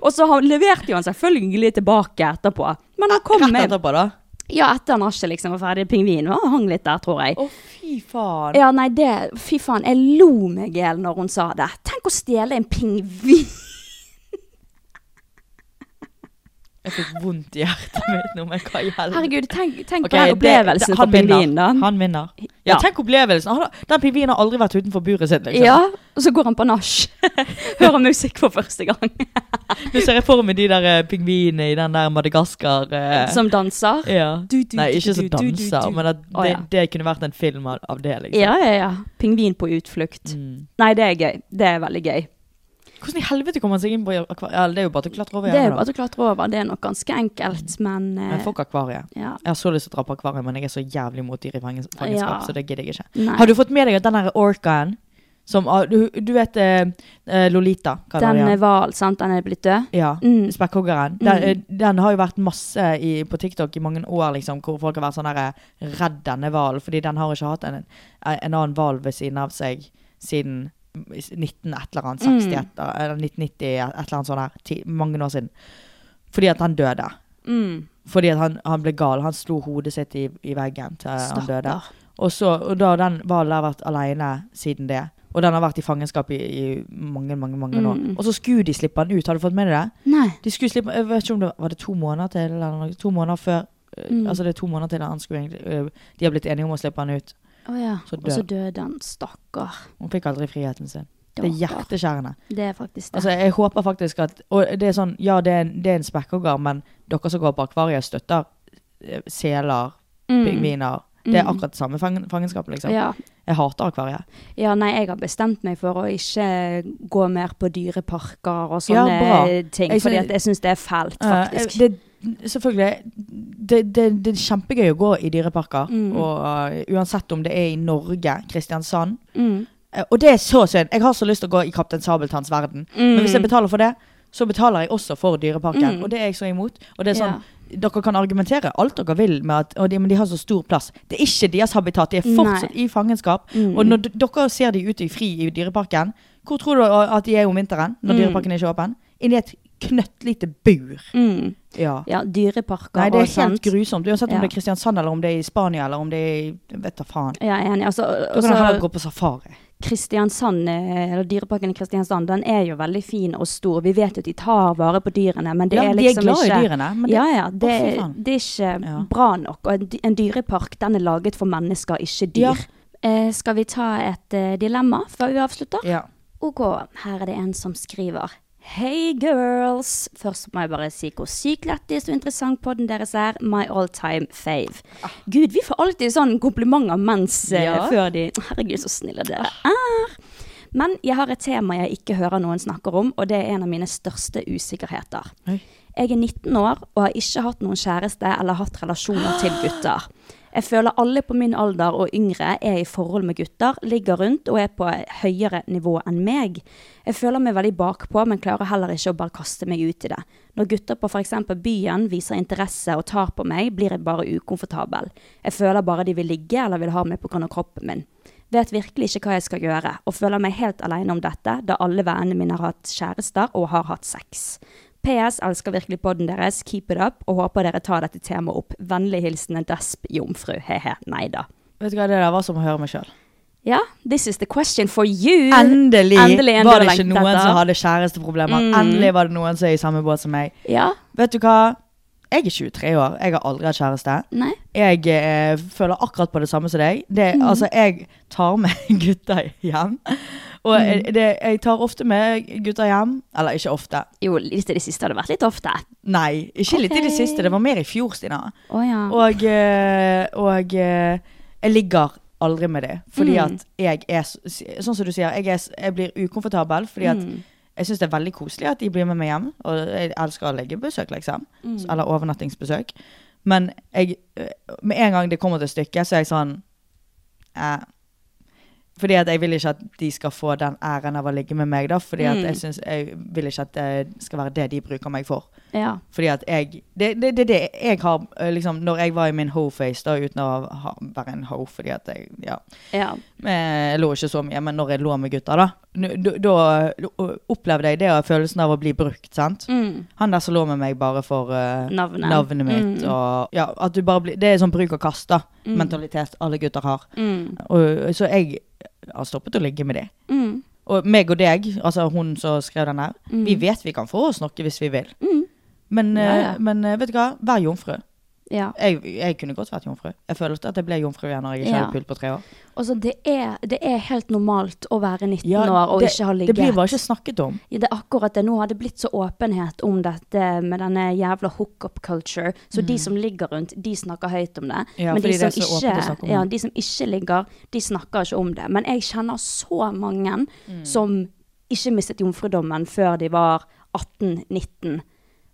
Speaker 2: Og så han, leverte jo han selvfølgelig tilbake etterpå. Men han kom
Speaker 1: Rett
Speaker 2: med
Speaker 1: etterpå, da.
Speaker 2: Ja, etter nachet liksom var ferdig. Pingvinen var- hang litt der, tror jeg.
Speaker 1: Å, fy faen.
Speaker 2: Ja, nei, det Fy faen, jeg lo meg i hjel når hun sa det. Tenk å stjele en pingvin!
Speaker 1: Jeg fikk vondt i hjertet mitt nå, men hva i helvete?
Speaker 2: Herregud, tenk, tenk
Speaker 1: Ok,
Speaker 2: på den
Speaker 1: det-
Speaker 2: opplevelsen
Speaker 1: det-
Speaker 2: for
Speaker 1: han vinner.
Speaker 2: pingvinen, da.
Speaker 1: Han vinner. Ja,
Speaker 2: Ja.
Speaker 1: tenk opplevelsen. Han, har- den pingvinen har aldri vært utenfor buret sitt. Liksom.
Speaker 2: Ja, og så går han på nach. Hører musikk for første gang.
Speaker 1: Nå ser jeg for meg de der eh, pingvinene i den der Madagaskar eh,
Speaker 2: Som danser.
Speaker 1: ja.
Speaker 2: Du, du,
Speaker 1: Nei,
Speaker 2: du,
Speaker 1: ikke
Speaker 2: du,
Speaker 1: som
Speaker 2: du, du,
Speaker 1: danser,
Speaker 2: du.
Speaker 1: men at det,
Speaker 2: Å, ja.
Speaker 1: det kunne vært en film av, av det. liksom.
Speaker 2: Ja, ja, ja. Pingvin på utflukt.
Speaker 1: Mm.
Speaker 2: Nei, det er gøy. Det er veldig gøy.
Speaker 1: Hvordan i helvete kommer han seg inn på akvariet? Ja, det er jo bare til å klatre over
Speaker 2: Det er jo
Speaker 1: igjen.
Speaker 2: bare å klatre over. Det er nok ganske enkelt, men eh,
Speaker 1: Men fuck akvariet.
Speaker 2: ja.
Speaker 1: Jeg har så lyst til å dra på akvariet, men jeg er så jævlig mot dyr i fangens- fangenskap,
Speaker 2: Ja.
Speaker 1: så det gidder jeg ikke.
Speaker 2: Nei.
Speaker 1: Har du fått med deg at den der orcaen som ah, Du, du vet eh, eh, Lolita? kaller de
Speaker 2: Den eh,
Speaker 1: den.
Speaker 2: er hval, sant? Den er blitt død?
Speaker 1: Ja,
Speaker 2: Mm.
Speaker 1: spekkhoggeren. Den, eh, den har jo vært masse i, på TikTok i mange år, liksom, hvor folk har vært sånn derre Redd denne hvalen, fordi den har ikke hatt en, en annen hval ved siden av seg siden 19 et eller annet, 60
Speaker 2: Mm.
Speaker 1: et, eller 1990 et eller annet sånt der, ti, mange år siden. Fordi at han døde.
Speaker 2: Mm.
Speaker 1: Fordi at han, han ble gal. Han slo hodet sitt i, i veggen til Eh, han døde.
Speaker 2: Stakkar.
Speaker 1: Og, så, og da har den hvalen har vært alene siden det. Og den har vært i fangenskap i, i mange mange, mange år.
Speaker 2: Mm.
Speaker 1: Og så skulle de slippe han ut. Har du fått med deg det?
Speaker 2: Nei.
Speaker 1: De skulle slippe jeg vet ikke om det Var det to måneder til? Eller noe, to måneder før eh,
Speaker 2: Mm.
Speaker 1: Altså det er to måneder til han skulle egentlig eh, De har blitt enige om å slippe han ut.
Speaker 2: Å ja.
Speaker 1: Så
Speaker 2: Og så
Speaker 1: død.
Speaker 2: døde han. Stakkar.
Speaker 1: Hun fikk aldri friheten sin. Det er
Speaker 2: Stakkar.
Speaker 1: hjerteskjærende.
Speaker 2: Det er faktisk det.
Speaker 1: Altså Jeg håper faktisk at Og det er sånn Ja, det er en, det er en spekkhogger, men dere som går på akvariet, støtter eh, seler, pingviner Det er akkurat samme fangen, fangenskap, liksom.
Speaker 2: Mm. ja.
Speaker 1: Jeg hater akvariet.
Speaker 2: ja, nei, jeg har bestemt meg for å ikke gå mer på dyreparker og
Speaker 1: Ja,
Speaker 2: sånne
Speaker 1: bra.
Speaker 2: ting,
Speaker 1: Jeg
Speaker 2: fordi
Speaker 1: synes-
Speaker 2: at jeg syns det er fælt, faktisk.
Speaker 1: Eh, det, selvfølgelig. Det, det, det er kjempegøy å gå i dyreparker,
Speaker 2: Mm.
Speaker 1: og eh, uansett om det er i Norge, Kristiansand
Speaker 2: Mm.
Speaker 1: Eh, Og det er så synd. Jeg har så lyst til å gå i Kaptein Sabeltanns verden. Men
Speaker 2: mm.
Speaker 1: hvis jeg betaler for det, så betaler jeg også for Dyreparken. Og det er jeg så imot. Og det er sånn, Dere kan argumentere alt dere vil, med at, og de, men de har så stor plass. Det er ikke deres habitat. De er fortsatt i fangenskap.
Speaker 2: mm.
Speaker 1: Og når d- dere ser de ute i fri i Dyreparken, hvor tror du at de er om vinteren når Dyreparken er ikke er åpen? Inni et knøttlite bur.
Speaker 2: Mm.
Speaker 1: Ja.
Speaker 2: Ja, dyreparker
Speaker 1: Nei, det
Speaker 2: og
Speaker 1: er helt
Speaker 2: sånt.
Speaker 1: grusomt. Uansett om
Speaker 2: Ja.
Speaker 1: det er Kristiansand, eller om det er i Spania, eller om det er i jeg Vet da faen.
Speaker 2: Ja, jeg er enig. Altså,
Speaker 1: Da kan jeg heller
Speaker 2: også,
Speaker 1: gå på safari.
Speaker 2: Kristiansand, eh, eller Dyreparken i Kristiansand den er jo veldig fin og stor. Vi vet jo at de tar vare på dyrene, men det
Speaker 1: Ja,
Speaker 2: er
Speaker 1: de er
Speaker 2: liksom
Speaker 1: glad i
Speaker 2: ikke
Speaker 1: dyrene, men det-
Speaker 2: ja, ja, det,
Speaker 1: Å, fy faen.
Speaker 2: det er ikke
Speaker 1: Ja.
Speaker 2: bra nok. Og en dy- en dyrepark den er laget for mennesker, ikke dyr.
Speaker 1: Ja.
Speaker 2: Eh, skal vi ta et eh, dilemma før vi avslutter?
Speaker 1: Ja.
Speaker 2: Ok, her er det en som skriver Hey girls! Først må jeg bare si hvor sykt lættis og interessant podden deres er. My all time fave. Gud, vi får alltid sånn komplimenter mens eh,
Speaker 1: Ah. Ja. Ah.
Speaker 2: før de Herregud, så snille dere er. Men jeg har et tema jeg ikke hører noen snakker om, og det er en av mine største usikkerheter.
Speaker 1: Oi.
Speaker 2: Jeg er 19 år og har ikke hatt noen kjæreste eller hatt relasjoner til gutter. Jeg føler alle på min alder og yngre er i forhold med gutter, ligger rundt og er på et høyere nivå enn meg. Jeg føler meg veldig bakpå, men klarer heller ikke å bare kaste meg ut i det. Når gutter på f.eks. byen viser interesse og tar på meg, blir jeg bare ukomfortabel. Jeg føler bare de vil ligge eller vil ha meg pga. kroppen min. Vet virkelig ikke hva jeg skal gjøre, og føler meg helt alene om dette, da alle vennene mine har hatt kjærester og har hatt sex. PS elsker virkelig podden deres, keep it up, og håper dere tar dette temaet opp. Vennlig hilsen en desp jomfru, he-he, nei da.
Speaker 1: Vet du hva, det der var som å høre meg sjøl.
Speaker 2: Ja, this is the question for you.
Speaker 1: Endelig,
Speaker 2: Mm. Endelig en Mm.
Speaker 1: var
Speaker 2: du
Speaker 1: det
Speaker 2: har
Speaker 1: ikke
Speaker 2: lengtet
Speaker 1: noen
Speaker 2: etter.
Speaker 1: som hadde kjæresteproblemer. Endelig var det noen som er i samme båt som meg.
Speaker 2: Ja,
Speaker 1: Vet du hva? Jeg er 23 år. Jeg har aldri hatt kjæreste.
Speaker 2: nei.
Speaker 1: Jeg eh, føler akkurat på det samme som deg. Det,
Speaker 2: Mm.
Speaker 1: Altså, jeg tar med gutter hjem. Og
Speaker 2: Mm.
Speaker 1: eh, det, jeg tar ofte med gutter hjem. Eller ikke ofte.
Speaker 2: Jo, litt i det siste har det vært litt ofte.
Speaker 1: Nei, ikke litt i det
Speaker 2: Ok.
Speaker 1: siste. Det var mer i fjor, Stina.
Speaker 2: Å ja.
Speaker 1: Og, eh, og eh, jeg ligger aldri med det. Fordi
Speaker 2: Mm.
Speaker 1: at jeg er så- Sånn som du sier, jeg, er, s- jeg blir ukomfortabel fordi at
Speaker 2: Mm.
Speaker 1: jeg syns det er veldig koselig at de blir med meg hjem. Og jeg elsker å legge besøk, liksom.
Speaker 2: Mm.
Speaker 1: S- Eller overnattingsbesøk. Men jeg, eh, med en gang det kommer til stykket, så er jeg sånn eh, fordi at jeg vil ikke at de skal få den æren av å ligge med meg, da. Fordi at
Speaker 2: Mm.
Speaker 1: jeg, synes, jeg vil ikke at det skal være det de bruker meg for.
Speaker 2: ja.
Speaker 1: Fordi at jeg Det er det, det, det jeg har eh, liksom Når jeg var i min ho-face, da, uten å ha, være en ho, fordi at jeg Ja.
Speaker 2: Ja.
Speaker 1: Men Jeg lå ikke så mye, men når jeg lå med gutter, da, n- da, da opplevde jeg det og følelsen av å bli brukt, sant?
Speaker 2: Mm.
Speaker 1: Han der som lå med meg bare for eh,
Speaker 2: Navnet.
Speaker 1: navnet mitt
Speaker 2: Mm.
Speaker 1: og Ja, at du bare blir Det er sånn bruk og kast, da. Mentalitet alle gutter har.
Speaker 2: Mm.
Speaker 1: Og, så jeg har stoppet å ligge med de.
Speaker 2: Mm.
Speaker 1: Og meg og deg, altså hun som skrev den her, vi vet vi kan få oss noe hvis vi vil.
Speaker 2: Mm.
Speaker 1: Men,
Speaker 2: Ja, ja.
Speaker 1: eh, men eh, vet du hva, vær jomfru.
Speaker 2: Ja.
Speaker 1: Jeg, jeg kunne godt vært jomfru. Jeg følte at jeg ble jomfru igjen når jeg ikke
Speaker 2: Ja.
Speaker 1: hadde pult på tre år.
Speaker 2: Altså, det er, det er helt normalt å være 19 år og
Speaker 1: det,
Speaker 2: ikke ha
Speaker 1: det
Speaker 2: ligget.
Speaker 1: blir bare ikke snakket om.
Speaker 2: Ja, det er akkurat det. Nå har det blitt så åpenhet om dette med denne jævla hookup culture. Så de som ligger rundt, de snakker høyt om det.
Speaker 1: Mhm. Ja,
Speaker 2: Men de
Speaker 1: fordi det
Speaker 2: som,
Speaker 1: er så åpent å snakke
Speaker 2: ikke,
Speaker 1: om
Speaker 2: ja,
Speaker 1: det.
Speaker 2: de som ikke ligger, de snakker ikke om det. Men jeg kjenner så mange
Speaker 1: Mm.
Speaker 2: som ikke mistet jomfrudommen før de var 18-19.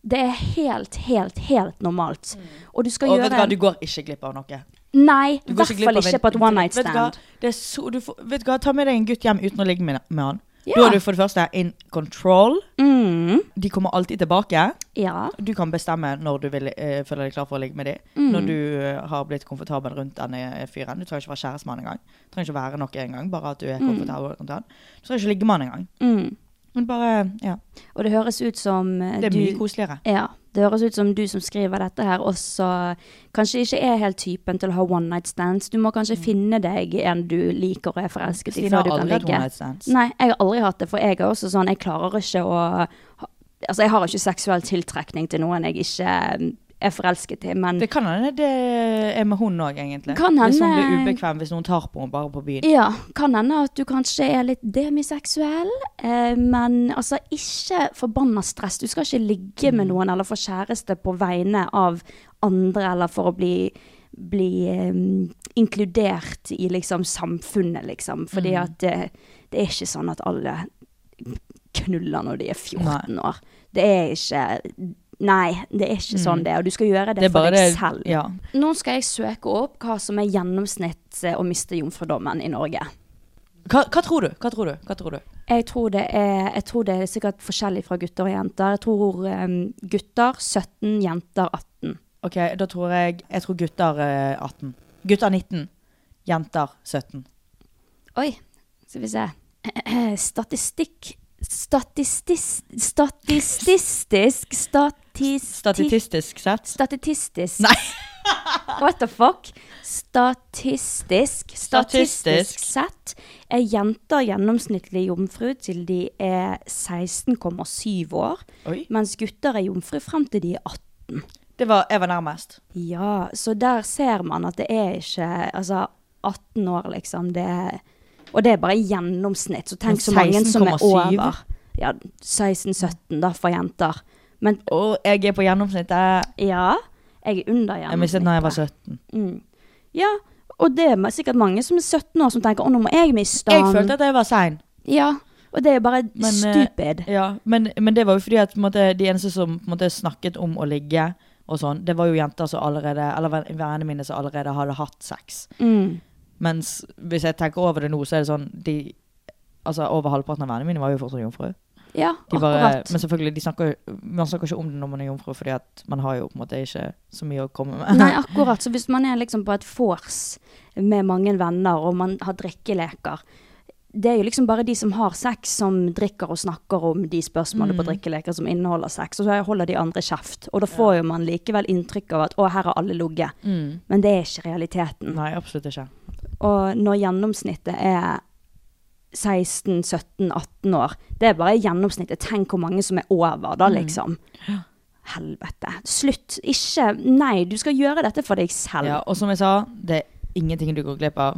Speaker 2: Det er helt, helt, helt normalt. Og du skal
Speaker 1: Mm. Og vet du
Speaker 2: gjøre
Speaker 1: hva, du går ikke glipp av noe.
Speaker 2: Nei,
Speaker 1: Du
Speaker 2: i
Speaker 1: går
Speaker 2: hvert fall
Speaker 1: en-
Speaker 2: ikke på et one night
Speaker 1: Vet du hva?
Speaker 2: stand.
Speaker 1: Det er så, du får, vet du hva, ta med deg en gutt hjem uten å ligge med, med han.
Speaker 2: Ja.
Speaker 1: Da er du for det første in control.
Speaker 2: Mm,
Speaker 1: De kommer alltid tilbake.
Speaker 2: ja.
Speaker 1: Du kan bestemme når du vil, eh, føler deg klar for å ligge med dem.
Speaker 2: Mm.
Speaker 1: Når du eh, har blitt komfortabel rundt denne fyren. Du trenger ikke være kjæreste med han engang. Du trenger ikke være noe engang, bare at du er komfortabel rundt han. Du trenger ikke ligge med han engang.
Speaker 2: Mm.
Speaker 1: Men bare, ja.
Speaker 2: Og det høres ut som eh,
Speaker 1: Det er
Speaker 2: du
Speaker 1: mye koseligere.
Speaker 2: Ja. Det høres ut som du som skriver dette her også kanskje ikke er helt typen til å ha one night stands. Du må kanskje finne deg en du liker og er forelsket i
Speaker 1: Stine
Speaker 2: før
Speaker 1: Mm. har
Speaker 2: du kan
Speaker 1: aldri hatt
Speaker 2: ligge.
Speaker 1: one night stands.
Speaker 2: Nei, jeg har aldri hatt det, for jeg er også sånn Jeg klarer ikke å ha- Altså, jeg har ikke seksuell tiltrekning til noen jeg ikke eh, er forelsket i, men
Speaker 1: Det kan hende det er med hun òg, egentlig.
Speaker 2: Kan
Speaker 1: Hvis hun
Speaker 2: hende-
Speaker 1: blir ubekvem hvis noen tar på henne bare på byen.
Speaker 2: Ja, kan hende at du kanskje er litt demiseksuell, eh, men altså ikke forbanna stress. Du skal ikke ligge med noen eller få kjæreste på vegne av andre eller for å bli, bli eh, inkludert i liksom samfunnet, liksom. Fordi at eh, det er ikke sånn at alle knuller når de er 14 år. Det er ikke Nei, det er ikke sånn det er. Og du skal gjøre det, for deg selv.
Speaker 1: Ja.
Speaker 2: Nå skal jeg søke opp hva som er gjennomsnitt eh, å miste jomfrudommen i Norge.
Speaker 1: Hva, hva tror du? Hva tror du? Hva tror du?
Speaker 2: Jeg tror det er, jeg tror det er sikkert forskjellig fra gutter og jenter. Jeg tror em, gutter 17, jenter 18.
Speaker 1: OK, da tror jeg Jeg tror gutter eh, 18. Gutter 19. Jenter 17.
Speaker 2: Oi, skal vi se. Statistikk Statistisk Statistisk Statistisk
Speaker 1: Statistisk sett.
Speaker 2: Statistisk
Speaker 1: Nei.
Speaker 2: What the fuck? Statistisk Statistisk
Speaker 1: Statistisk.
Speaker 2: sett er jenter gjennomsnittlig jomfru til de er 16,7 år,
Speaker 1: Oi.
Speaker 2: mens gutter er jomfru frem til de er 18.
Speaker 1: Det var, jeg var nærmest.
Speaker 2: Ja, så der ser man at det er ikke Altså, 18 år, liksom, det er Og det er bare i gjennomsnitt, så tenk
Speaker 1: Men
Speaker 2: så mange som er
Speaker 1: 16,7?
Speaker 2: over. Ja, 16-17 da, for jenter. Men
Speaker 1: Og jeg er på gjennomsnittet.
Speaker 2: ja, jeg er under gjennomsnittet.
Speaker 1: Jeg mistet da jeg var 17.
Speaker 2: Ja, og det er sikkert mange som er 17 år som tenker 'Å, nå må jeg miste
Speaker 1: Jeg
Speaker 2: den'.
Speaker 1: følte at jeg var sein.
Speaker 2: Ja, og det er bare
Speaker 1: Men, eh,
Speaker 2: stupid.
Speaker 1: Ja, men, men det var jo fordi at på en måte, de eneste som på en måte, snakket om å ligge og sånn, det var jo jenter som allerede, eller ven- vennene mine som allerede hadde hatt sex.
Speaker 2: Mm.
Speaker 1: Mens hvis jeg tenker over det nå, så er det sånn de, altså Over halvparten av vennene mine var jo fortsatt jomfru.
Speaker 2: Ja,
Speaker 1: De bare,
Speaker 2: akkurat.
Speaker 1: men selvfølgelig, de snakker, man snakker ikke om det når man er jomfru, fordi at man har jo på en måte ikke så mye å komme med.
Speaker 2: Nei, akkurat. Så hvis man er liksom på et vors med mange venner, og man har drikkeleker Det er jo liksom bare de som har sex, som drikker og snakker om de spørsmålene
Speaker 1: Mm.
Speaker 2: på drikkeleker som inneholder sex, og så holder de andre kjeft. Og da får jo man likevel inntrykk av at 'å, her har alle ligget'. Men det er ikke realiteten.
Speaker 1: Nei, absolutt ikke.
Speaker 2: Og når gjennomsnittet er 16, 17, 18 år Det er bare gjennomsnittet. Tenk hvor mange som er over,
Speaker 1: Mm.
Speaker 2: da, liksom. Helvete. Slutt. Ikke Nei, du skal gjøre dette for deg selv.
Speaker 1: Ja, og som jeg sa, det er ingenting du går glipp av.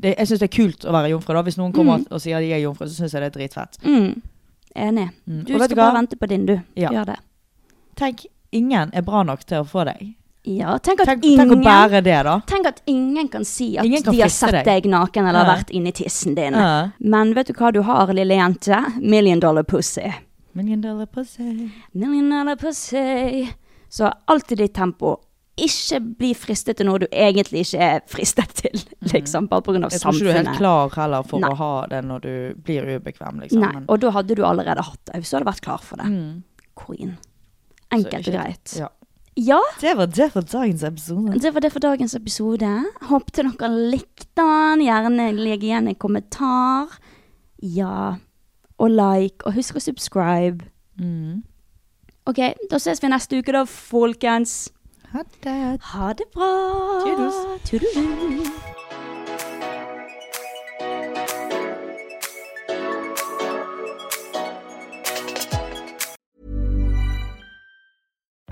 Speaker 1: Det, jeg syns det er kult å være jomfru. da Hvis noen kommer og sier de er jomfru, så syns jeg det er dritfett.
Speaker 2: Mm. Enig.
Speaker 1: Mm.
Speaker 2: Du
Speaker 1: Og vet
Speaker 2: skal
Speaker 1: du
Speaker 2: bare
Speaker 1: hva?
Speaker 2: vente på din, du.
Speaker 1: Ja.
Speaker 2: Gjør det.
Speaker 1: Tenk, ingen er bra nok til å få deg.
Speaker 2: Ja, tenk at
Speaker 1: Tenk, tenk å
Speaker 2: ingen
Speaker 1: bære det, da.
Speaker 2: Tenk at ingen kan si at
Speaker 1: Ingen kan
Speaker 2: de har
Speaker 1: friste
Speaker 2: sett
Speaker 1: deg.
Speaker 2: deg naken eller
Speaker 1: Ja.
Speaker 2: vært inni tissen din.
Speaker 1: Ja.
Speaker 2: Men vet du hva du har, lille jente? Million dollar pussy.
Speaker 1: Million dollar pussy.
Speaker 2: Million dollar pussy. Så alltid ditt tempo. Ikke bli fristet til noe du egentlig ikke er fristet til, liksom, bare pga.
Speaker 1: Mhm. Jeg tror ikke du er helt
Speaker 2: samfunnet.
Speaker 1: klar heller for
Speaker 2: Nei.
Speaker 1: å ha det når du blir ubekvem, liksom. Mm.
Speaker 2: Nei, og da hadde du allerede hatt det, så hadde du vært klar for det. Queen. Enkelt og greit.
Speaker 1: Ja.
Speaker 2: Ja,
Speaker 1: Det var det for dagens episode.
Speaker 2: det var det for dagens episode. Håpte dere likte den. Gjerne legg igjen en kommentar. Ja. Og like. Og husk å subscribe.
Speaker 1: Mm.
Speaker 2: OK, da ses vi neste uke, da, folkens.
Speaker 1: Ha det.
Speaker 2: Ha det bra.
Speaker 1: Toodles.
Speaker 2: Toodaloo.